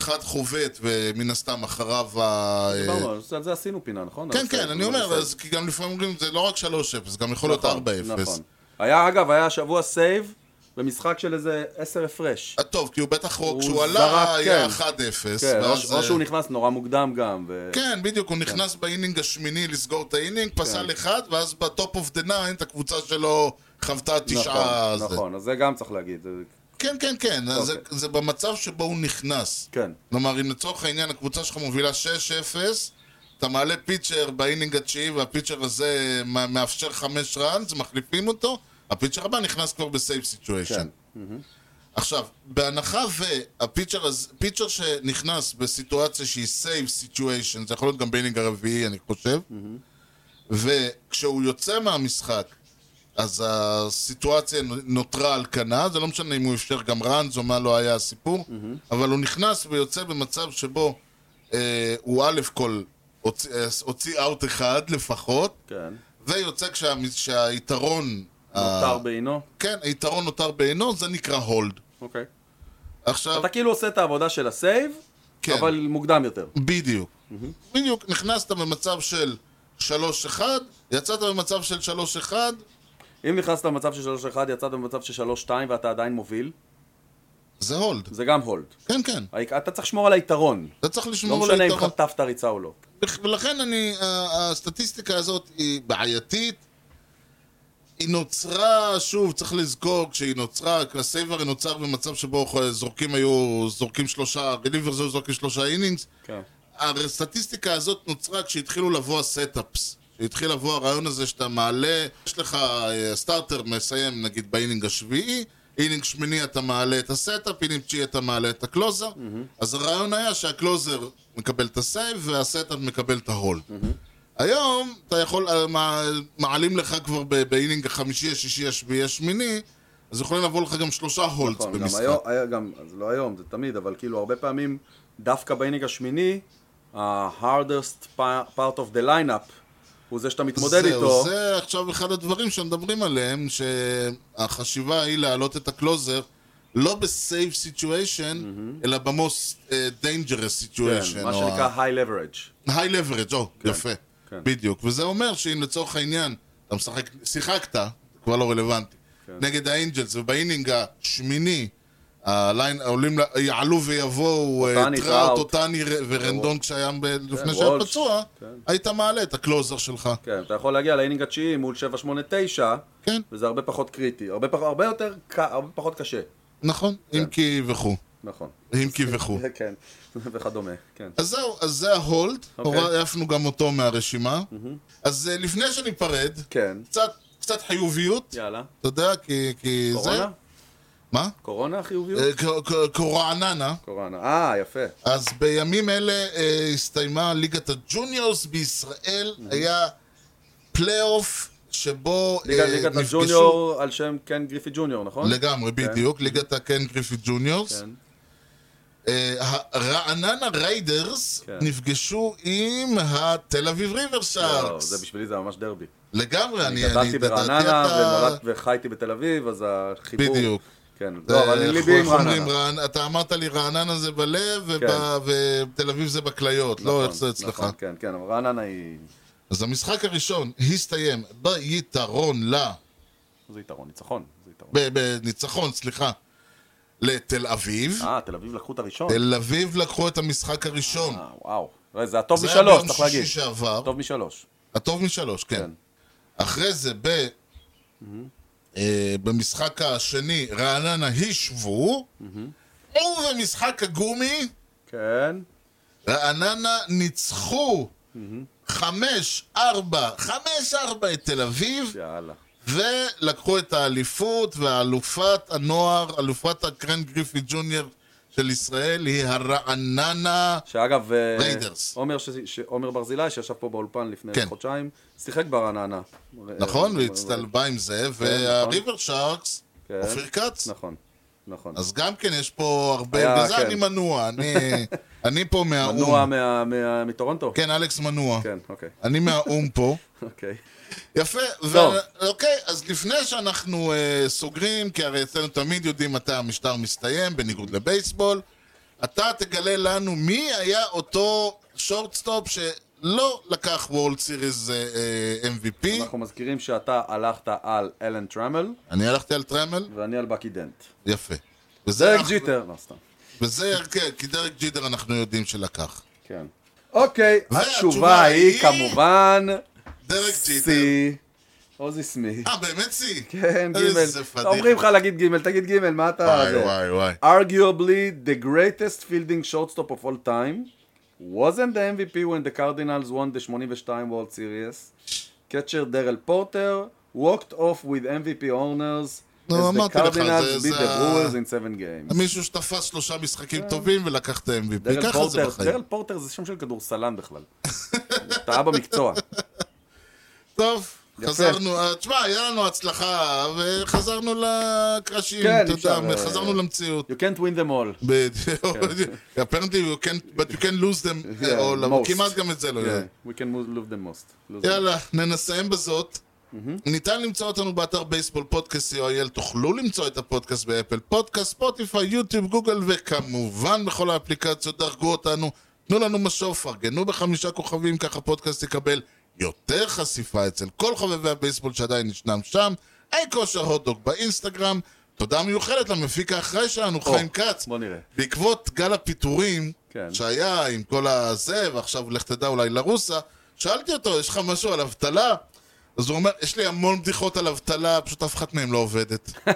Speaker 1: אחד חובט ומן הסתם אחריו ה... אה,
Speaker 2: דיברנו, על לא, זה- על זה עשינו פינה, נכון?
Speaker 1: כן,
Speaker 2: על
Speaker 1: כן,
Speaker 2: הסייף,
Speaker 1: אני
Speaker 2: על
Speaker 1: אומר,
Speaker 2: הסייף.
Speaker 1: אז כאילו כי גם לפעמים אומרים, זה לא רק 3-0, גם יכול להיות 4-0.
Speaker 2: נכון, נכון. היה, אגב, היה שבוע סייב במשחק של איזה 10 הפרש.
Speaker 1: אה, טוב, כי הוא בטח,
Speaker 2: הוא
Speaker 1: כשהוא
Speaker 2: זרק,
Speaker 1: עלה, היה
Speaker 2: כן.
Speaker 1: 1-0.
Speaker 2: כן, או
Speaker 1: ואז,
Speaker 2: ש- או
Speaker 1: אה,
Speaker 2: שהוא נכנס נורא מוקדם גם. ו-
Speaker 1: כן, בדיוק, הוא נכנס באינינג השמיני לסגור את האינינג,
Speaker 2: כן.
Speaker 1: פסל אחד, ואז בטופ אוף דה ניין, את הקבוצה שלו חוותה תשעה...
Speaker 2: נכון,
Speaker 1: זה.
Speaker 2: נכון, אז זה גם צריך להגיד. זה-
Speaker 1: כן, כן, כן, אז זה-
Speaker 2: אוקיי.
Speaker 1: זה במצב שבו הוא נכנס.
Speaker 2: כן.
Speaker 1: כלומר, אם לצורך העניין הקבוצה שלך מובילה 6-0, אתה מעלה פיצ'ר באינינג התשיעי, והפיצ'ר הזה מ- מאפשר 5 ראנס, מחליפים אותו, הפיצ'ר הבא נכנס כבר בסייב סיטואשן.
Speaker 2: כן.
Speaker 1: עכשיו, בהנחה והפיצ'ר הז- פיצ'ר שנכנס בסיטואציה שהיא סייב סיטואשן, זה יכול להיות גם באינינג הרביעי, אני חושב, וכשהוא יוצא מהמשחק, אז הסיטואציה נותרה על כנה, זה לא משנה אם הוא אפשר גם ראנז או מה לא היה הסיפור, אבל הוא נכנס ויוצא במצב שבו אה, הוא א' כל הוציא- אה, הוציא אאוט אחד לפחות,
Speaker 2: כן.
Speaker 1: ויוצא כשה, כשהיתרון...
Speaker 2: נותר בעינו.
Speaker 1: כן, היתרון נותר בעינו, זה נקרא הולד.
Speaker 2: אוקיי.
Speaker 1: עכשיו,
Speaker 2: אתה כאילו עושה את העבודה של הסייב,
Speaker 1: כן.
Speaker 2: אבל מוקדם יותר.
Speaker 1: בדיוק. בדיוק, נכנסת במצב של 3-1, יצאת במצב של 3-1,
Speaker 2: אם נכנסת למצב של 3-1, יצאת במצב של 3-2 ואתה עדיין מוביל,
Speaker 1: זה הולד.
Speaker 2: זה גם הולד.
Speaker 1: כן, כן.
Speaker 2: ה- אתה צריך לשמור על היתרון.
Speaker 1: אתה צריך
Speaker 2: לא
Speaker 1: לשמור על
Speaker 2: משנה אם
Speaker 1: היתרון.
Speaker 2: חטפת ריצה או לא.
Speaker 1: ולכן אני, ה- הסטטיסטיקה הזאת היא בעייתית. היא נוצרה, שוב, צריך לזכור, כשהיא נוצרה, הסייבר נוצר במצב שבו זורקים היו, זורקים שלושה, רליברס היו זורקים שלושה אינינגס.
Speaker 2: כן.
Speaker 1: הסטטיסטיקה הזאת נוצרה כשהתחילו לבוא הסטאפס. כשהתחיל לבוא הרעיון הזה שאתה מעלה, יש לך אה, סטארטר מסיים נגיד באינינג השביעי, אינינג שמיני אתה מעלה את הסטאפ, אינינג תשיעי אתה מעלה את הקלוזר, אז הרעיון היה שהקלוזר מקבל את הסייב והסטאפ מקבל את ההולד. היום אתה יכול, אה, מע- מעלים לך כבר ב- באינינג החמישי, השישי, השביעי, השמיני, אז יכולים לבוא לך גם שלושה הולדס
Speaker 2: נכון, גם
Speaker 1: במשחק.
Speaker 2: היום, היה גם, זה לא היום, זה תמיד, אבל כאילו הרבה פעמים, דווקא באינינג השמיני, ה-hardest part of the lineup הוא זה שאתה מתמודד
Speaker 1: זהו,
Speaker 2: איתו.
Speaker 1: זה עכשיו אחד הדברים שמדברים עליהם, שהחשיבה היא להעלות את הקלוזר לא בסייב סיטואשן, אלא אה, במוסט דנג'רס סיטואשן.
Speaker 2: כן, מה שנקרא high leverage.
Speaker 1: היי לברדג', או, יפה.
Speaker 2: כן.
Speaker 1: בדיוק. וזה אומר שאם לצורך העניין, אתה משחק, שיחקת, כבר לא רלוונטי,
Speaker 2: כן.
Speaker 1: נגד האנג'לס, ובאינינג השמיני, הליין, העולים, ל- יעלו ויבואו, אה,
Speaker 2: טוטני,
Speaker 1: טראוט,
Speaker 2: טראוט.
Speaker 1: טוטני ר- ורנדון כשהיה ב- לפני שהיה
Speaker 2: וולש.
Speaker 1: פצוע,
Speaker 2: כן.
Speaker 1: היית מעלה את הקלוזר שלך.
Speaker 2: כן, אתה יכול להגיע לאינינג התשיעי מול 7-8-9,
Speaker 1: כן,
Speaker 2: וזה הרבה פחות קריטי, הרבה, פח, הרבה יותר, ק- הרבה פחות קשה.
Speaker 1: נכון,
Speaker 2: כן.
Speaker 1: אם כי וכו'.
Speaker 2: נכון.
Speaker 1: אם כי וכו'.
Speaker 2: כן, וכדומה, כן.
Speaker 1: אז זהו, אז זה ההולד,
Speaker 2: אוקיי.
Speaker 1: הורא- העפנו גם אותו מהרשימה. אז אה, לפני שניפרד,
Speaker 2: כן.
Speaker 1: קצת- קצת חיוביות,
Speaker 2: יאללה.
Speaker 1: אתה יודע, כי- כי זה...
Speaker 2: קורונה?
Speaker 1: מה?
Speaker 2: קורונה חיוביות?
Speaker 1: אה, ק- ק- קורעננה.
Speaker 2: קורונה. אה, יפה.
Speaker 1: אז בימים אלה אה, הסתיימה ליגת הג'וניורס בישראל, היה פלייאוף שבו אה,
Speaker 2: ליגת- ליגת הג'וניור על שם קן גריפי ג'וניור, נכון?
Speaker 1: לגמרי, בדיוק, ליגת הקן גריפי ג'וניורס.
Speaker 2: כן.
Speaker 1: אה, הרעננה ריידרס
Speaker 2: כן.
Speaker 1: נפגשו עם התל אביב ריבר
Speaker 2: לא,
Speaker 1: שארקס.
Speaker 2: זה בשבילי זה ממש דרבי.
Speaker 1: לגמרי, אני... אני-
Speaker 2: גדלתי
Speaker 1: אתה-
Speaker 2: ברעננה
Speaker 1: אתה-
Speaker 2: ונולדתי וחייתי בתל אביב, אז החיבור...
Speaker 1: בדיוק.
Speaker 2: כן, לא, אבל אני
Speaker 1: איך-
Speaker 2: ליבי עם
Speaker 1: אה, איך אומרים,
Speaker 2: רעננה.
Speaker 1: רענ- אתה אמרת לי רעננה זה בלב,
Speaker 2: כן.
Speaker 1: וב- ותל אביב זה בכליות, לא איך זה אצלך.
Speaker 2: נכון, כן, כן, אבל רעננה היא...
Speaker 1: אז המשחק הראשון הסתיים ביתרון ל...
Speaker 2: זה יתרון, ניצחון. זה יתרון.
Speaker 1: ב- בניצחון, סליחה, לתל אביב.
Speaker 2: אה, תל אביב לקחו את הראשון.
Speaker 1: תל אביב לקחו את המשחק הראשון.
Speaker 2: אה, וואו. לא, זה הטוב
Speaker 1: זה היה
Speaker 2: משלוש,
Speaker 1: ביום
Speaker 2: צריך
Speaker 1: שישי
Speaker 2: להגיד.
Speaker 1: שעבר.
Speaker 2: טוב משלוש.
Speaker 1: הטוב משלוש, כן.
Speaker 2: כן.
Speaker 1: אחרי זה ב...
Speaker 2: Mm-hmm.
Speaker 1: אה, במשחק השני רעננה השוו,
Speaker 2: Mm-hmm.
Speaker 1: ובמשחק הגומי
Speaker 2: כן.
Speaker 1: רעננה ניצחו
Speaker 2: Mm-hmm.
Speaker 1: 5-4, 5-4 את תל אביב,
Speaker 2: יאללה.
Speaker 1: ולקחו את האליפות, ואלופת הנוער, אלופת הקרן גריפי ג'וניור של ישראל היא הרעננה.
Speaker 2: שאגב, אה,
Speaker 1: ריידרס.
Speaker 2: עומר ש- ש- עומר ברזילי, שישב פה באולפן לפני
Speaker 1: כן.
Speaker 2: חודשיים, שיחק ברעננה.
Speaker 1: נכון,
Speaker 2: אה,
Speaker 1: והצטלבה עם זה,
Speaker 2: נכון.
Speaker 1: והריבר שרקס,
Speaker 2: כן.
Speaker 1: אופיר כץ.
Speaker 2: נכון, נכון.
Speaker 1: אז גם כן יש פה הרבה,
Speaker 2: היה,
Speaker 1: בגלל זה
Speaker 2: כן.
Speaker 1: אני מנוע, אני- אני פה
Speaker 2: מנוע
Speaker 1: מהאו"ם.
Speaker 2: מה- מה- מטורונטו?
Speaker 1: כן, אלכס מנוע.
Speaker 2: כן, אוקיי.
Speaker 1: אני מהאו"ם פה.
Speaker 2: אוקיי.
Speaker 1: יפה,
Speaker 2: טוב.
Speaker 1: ו- אוקיי, אז לפני שאנחנו אה, סוגרים, כי הרי אצלנו תמיד יודעים מתי המשטר מסתיים, בניגוד לבייסבול, אתה תגלה לנו מי היה אותו שורטסטופ שלא לקח וולד סיריס אה, אה, MVP.
Speaker 2: אנחנו מזכירים שאתה הלכת על אלן טרמל,
Speaker 1: אני הלכתי על טרמל,
Speaker 2: ואני על בקי דנט.
Speaker 1: יפה. וזה,
Speaker 2: דרג
Speaker 1: אנחנו-
Speaker 2: ג'יטר. לא, סתם.
Speaker 1: וזה, כן, כי דרק ג'ידר אנחנו יודעים שלקח.
Speaker 2: כן. אוקיי,
Speaker 1: והתשובה
Speaker 2: התשובה היא
Speaker 1: היא-
Speaker 2: כמובן...
Speaker 1: דרק ג'ידר.
Speaker 2: סי. עוזי סמי.
Speaker 1: אה, באמת סי?
Speaker 2: כן,
Speaker 1: איזה
Speaker 2: גימל.
Speaker 1: פדיחה.
Speaker 2: אומרים לך להגיד גימל, תגיד גימל, מה אתה...
Speaker 1: וואי,
Speaker 2: זה?
Speaker 1: וואי, וואי.
Speaker 2: arguably the greatest fielding shortstop of all time, wasn't the MVP when the Cardinals won the 82 World Series. Catcher Darrell Porter walked off with MVP honors
Speaker 1: נו,
Speaker 2: as the
Speaker 1: לא, אמרתי לך,
Speaker 2: Cardinals
Speaker 1: זה-
Speaker 2: beat
Speaker 1: זה
Speaker 2: the
Speaker 1: ה-
Speaker 2: Brewers in seven games.
Speaker 1: מישהו שתפס שלושה
Speaker 2: כן.
Speaker 1: משחקים טובים ולקח את ה-MVP.
Speaker 2: דרל
Speaker 1: ככה זה
Speaker 2: פורטר,
Speaker 1: בחיים.
Speaker 2: דרל פורטר זה שם של כדורסלן בכלל. טעה במקצוע.
Speaker 1: טוב,
Speaker 2: יפה.
Speaker 1: חזרנו, אה, תשמע, היה לנו הצלחה, וחזרנו לקרשים,
Speaker 2: כן,
Speaker 1: אתה
Speaker 2: אפשר,
Speaker 1: יודע,
Speaker 2: אה,
Speaker 1: חזרנו למציאות.
Speaker 2: You can't win them all.
Speaker 1: בדיוק, apparently you can, but you can lose them,
Speaker 2: Yeah,
Speaker 1: all, אבל
Speaker 2: most.
Speaker 1: כמעט גם את זה לא יודע.
Speaker 2: We can move- lose them most. Lose them.
Speaker 1: יאללה, ננסיים בזאת. ניתן למצוא אותנו באתר בייסבול פודקאסט co.il, תוכלו למצוא את הפודקאסט באפל פודקאסט, ספוטיפיי, יוטיוב, גוגל, וכמובן בכל האפליקציות, דרגו אותנו, תנו לנו משוב, פרגנו בחמישה כוכבים, ככה הפודקאסט יקבל יותר חשיפה אצל כל חובבי הבייסבול שעדיין ישנם שם. היי כושר הוטדוק באינסטגרם. תודה מיוחדת למפיק האחראי שלנו, חיים כץ.
Speaker 2: בוא נראה.
Speaker 1: בעקבות גל הפיטורים
Speaker 2: כן.
Speaker 1: שהיה עם כל הזה, ועכשיו לך תדע אולי לרוסה, שאלתי אותו, יש לך משהו על אבטלה? אז הוא אומר, יש לי המון בדיחות על אבטלה, פשוט אף אחת מהן לא עובדת.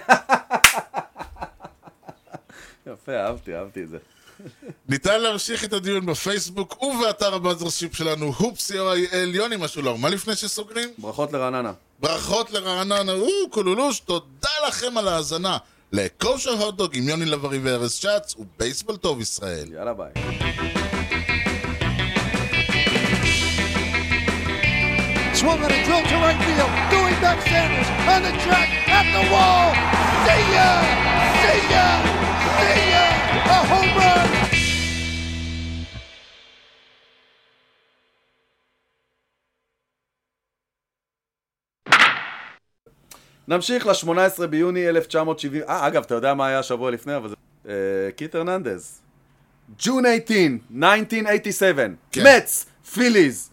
Speaker 2: יפה, אהבתי, אהבתי את זה.
Speaker 1: ניתן להמשיך את הדיון בפייסבוק ובאתר הבאזרשיפ שלנו, הופסי.או.איי.אל, יוני משולר, מה לפני שסוגרים?
Speaker 2: ברכות לרעננה.
Speaker 1: ברכות לרעננה, או, קולולוש, תודה לכם על ההאזנה. לכושר הוטדוג עם יוני לב-ארי וארז שץ, ובייסבול טוב ישראל.
Speaker 2: יאללה ביי.
Speaker 6: Swung on a drill to right field. Doing back Sanders on the track at the wall. See ya! See ya! See ya! A home run!
Speaker 2: נמשיך ל-18 ביוני 1970. אה, אגב, אתה יודע מה היה השבוע לפני, אבל זה... אה, קיט הרננדז. June 18, 1987.
Speaker 1: כן.
Speaker 2: Mets, Phillies.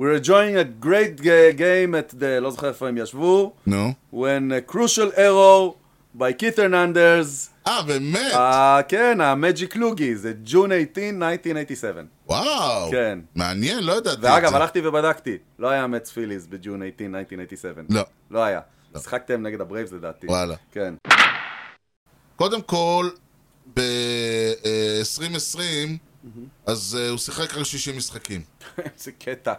Speaker 2: We're enjoying a great uh, game at the... לא זוכר איפה הם ישבו.
Speaker 1: נו.
Speaker 2: When a crucial error by קיט הרננדז.
Speaker 1: אה, באמת?
Speaker 2: אה, כן, המג'יק לוגי, זה June 18, 1987.
Speaker 1: וואו.
Speaker 2: כן.
Speaker 1: מעניין, לא ידעתי את זה.
Speaker 2: ואגב, הלכתי ובדקתי, לא היה מצ פיליס בג'ון 18, 1987.
Speaker 1: לא.
Speaker 2: לא היה. משחקתם נגד הברייבס לדעתי.
Speaker 1: וואלה.
Speaker 2: כן.
Speaker 1: קודם כל, ב-2020, אז אה, הוא שיחק רק 60 משחקים.
Speaker 2: איזה קטע.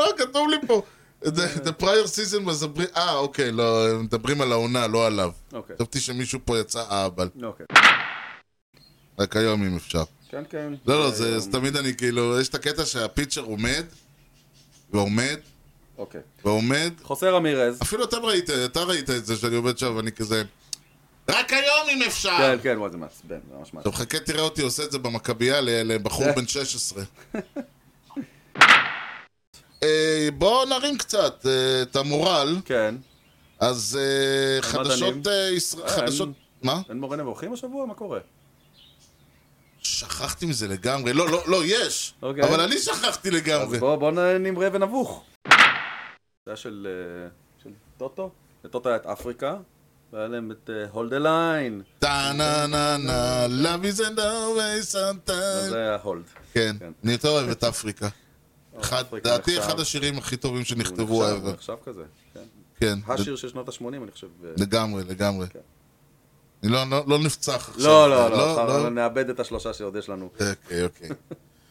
Speaker 1: אה, כתוב לי פה. The, the prior season was a... bri- אה, אוקיי, לא, הם מדברים על העונה, לא עליו.
Speaker 2: אוקיי.
Speaker 1: חשבתי שמישהו פה יצא אהבל.
Speaker 2: אוקיי.
Speaker 1: רק היום אם אפשר.
Speaker 2: כן, כן.
Speaker 1: לא, לא, זה זה תמיד אני כאילו, יש את הקטע שהפיצ'ר עומד, ועומד,
Speaker 2: אוקיי.
Speaker 1: ועומד.
Speaker 2: חוסר אמירז.
Speaker 1: אפילו אתם ראיתם, אתה ראית את זה שאני עובד שם, ואני כזה... רק היום אם אפשר!
Speaker 2: כן, כן, וואי, זה מעצבן, זה ממש מעצבן.
Speaker 1: טוב, חכה תראה אותי עושה את זה במכבייה ל- לבחור בן 16. אה, בואו נרים קצת אה, את המורל.
Speaker 2: כן.
Speaker 1: אז אה,
Speaker 2: על מדענים.
Speaker 1: חדשות... אה, ישראל-
Speaker 2: אה,
Speaker 1: חדשות... מה?
Speaker 2: אין מורה נבוכים השבוע? מה קורה?
Speaker 1: שכחתי מזה לגמרי. לא, לא, לא, יש!
Speaker 2: אוקיי.
Speaker 1: אבל אני שכחתי
Speaker 2: אז
Speaker 1: לגמרי.
Speaker 2: בואו נמרה ונבוך. זה היה של אה, של טוטו. לטוטו היה את אפריקה. והיה להם את אה, הולד הליין.
Speaker 1: טה נה נה נה, love is an always sometimes.
Speaker 2: זה היה הולד.
Speaker 1: כן,
Speaker 2: כן.
Speaker 1: אני יותר אוהב את אפריקה. אחד-
Speaker 2: אפריקה
Speaker 1: דעתי
Speaker 2: נחשב.
Speaker 1: אחד השירים הכי טובים
Speaker 2: הוא
Speaker 1: שנכתבו
Speaker 2: נחשב-
Speaker 1: ever.
Speaker 2: הוא נחשב כזה. כן.
Speaker 1: כן,
Speaker 2: השיר של שנות ה-80, אני חושב. אה,
Speaker 1: לגמרי, לגמרי. אני כן. לא- לא לא נפצח עכשיו. לא,
Speaker 2: לא, לא, לא, לא, נאבד את השלושה שעוד יש לנו.
Speaker 1: אוקיי, אוקיי.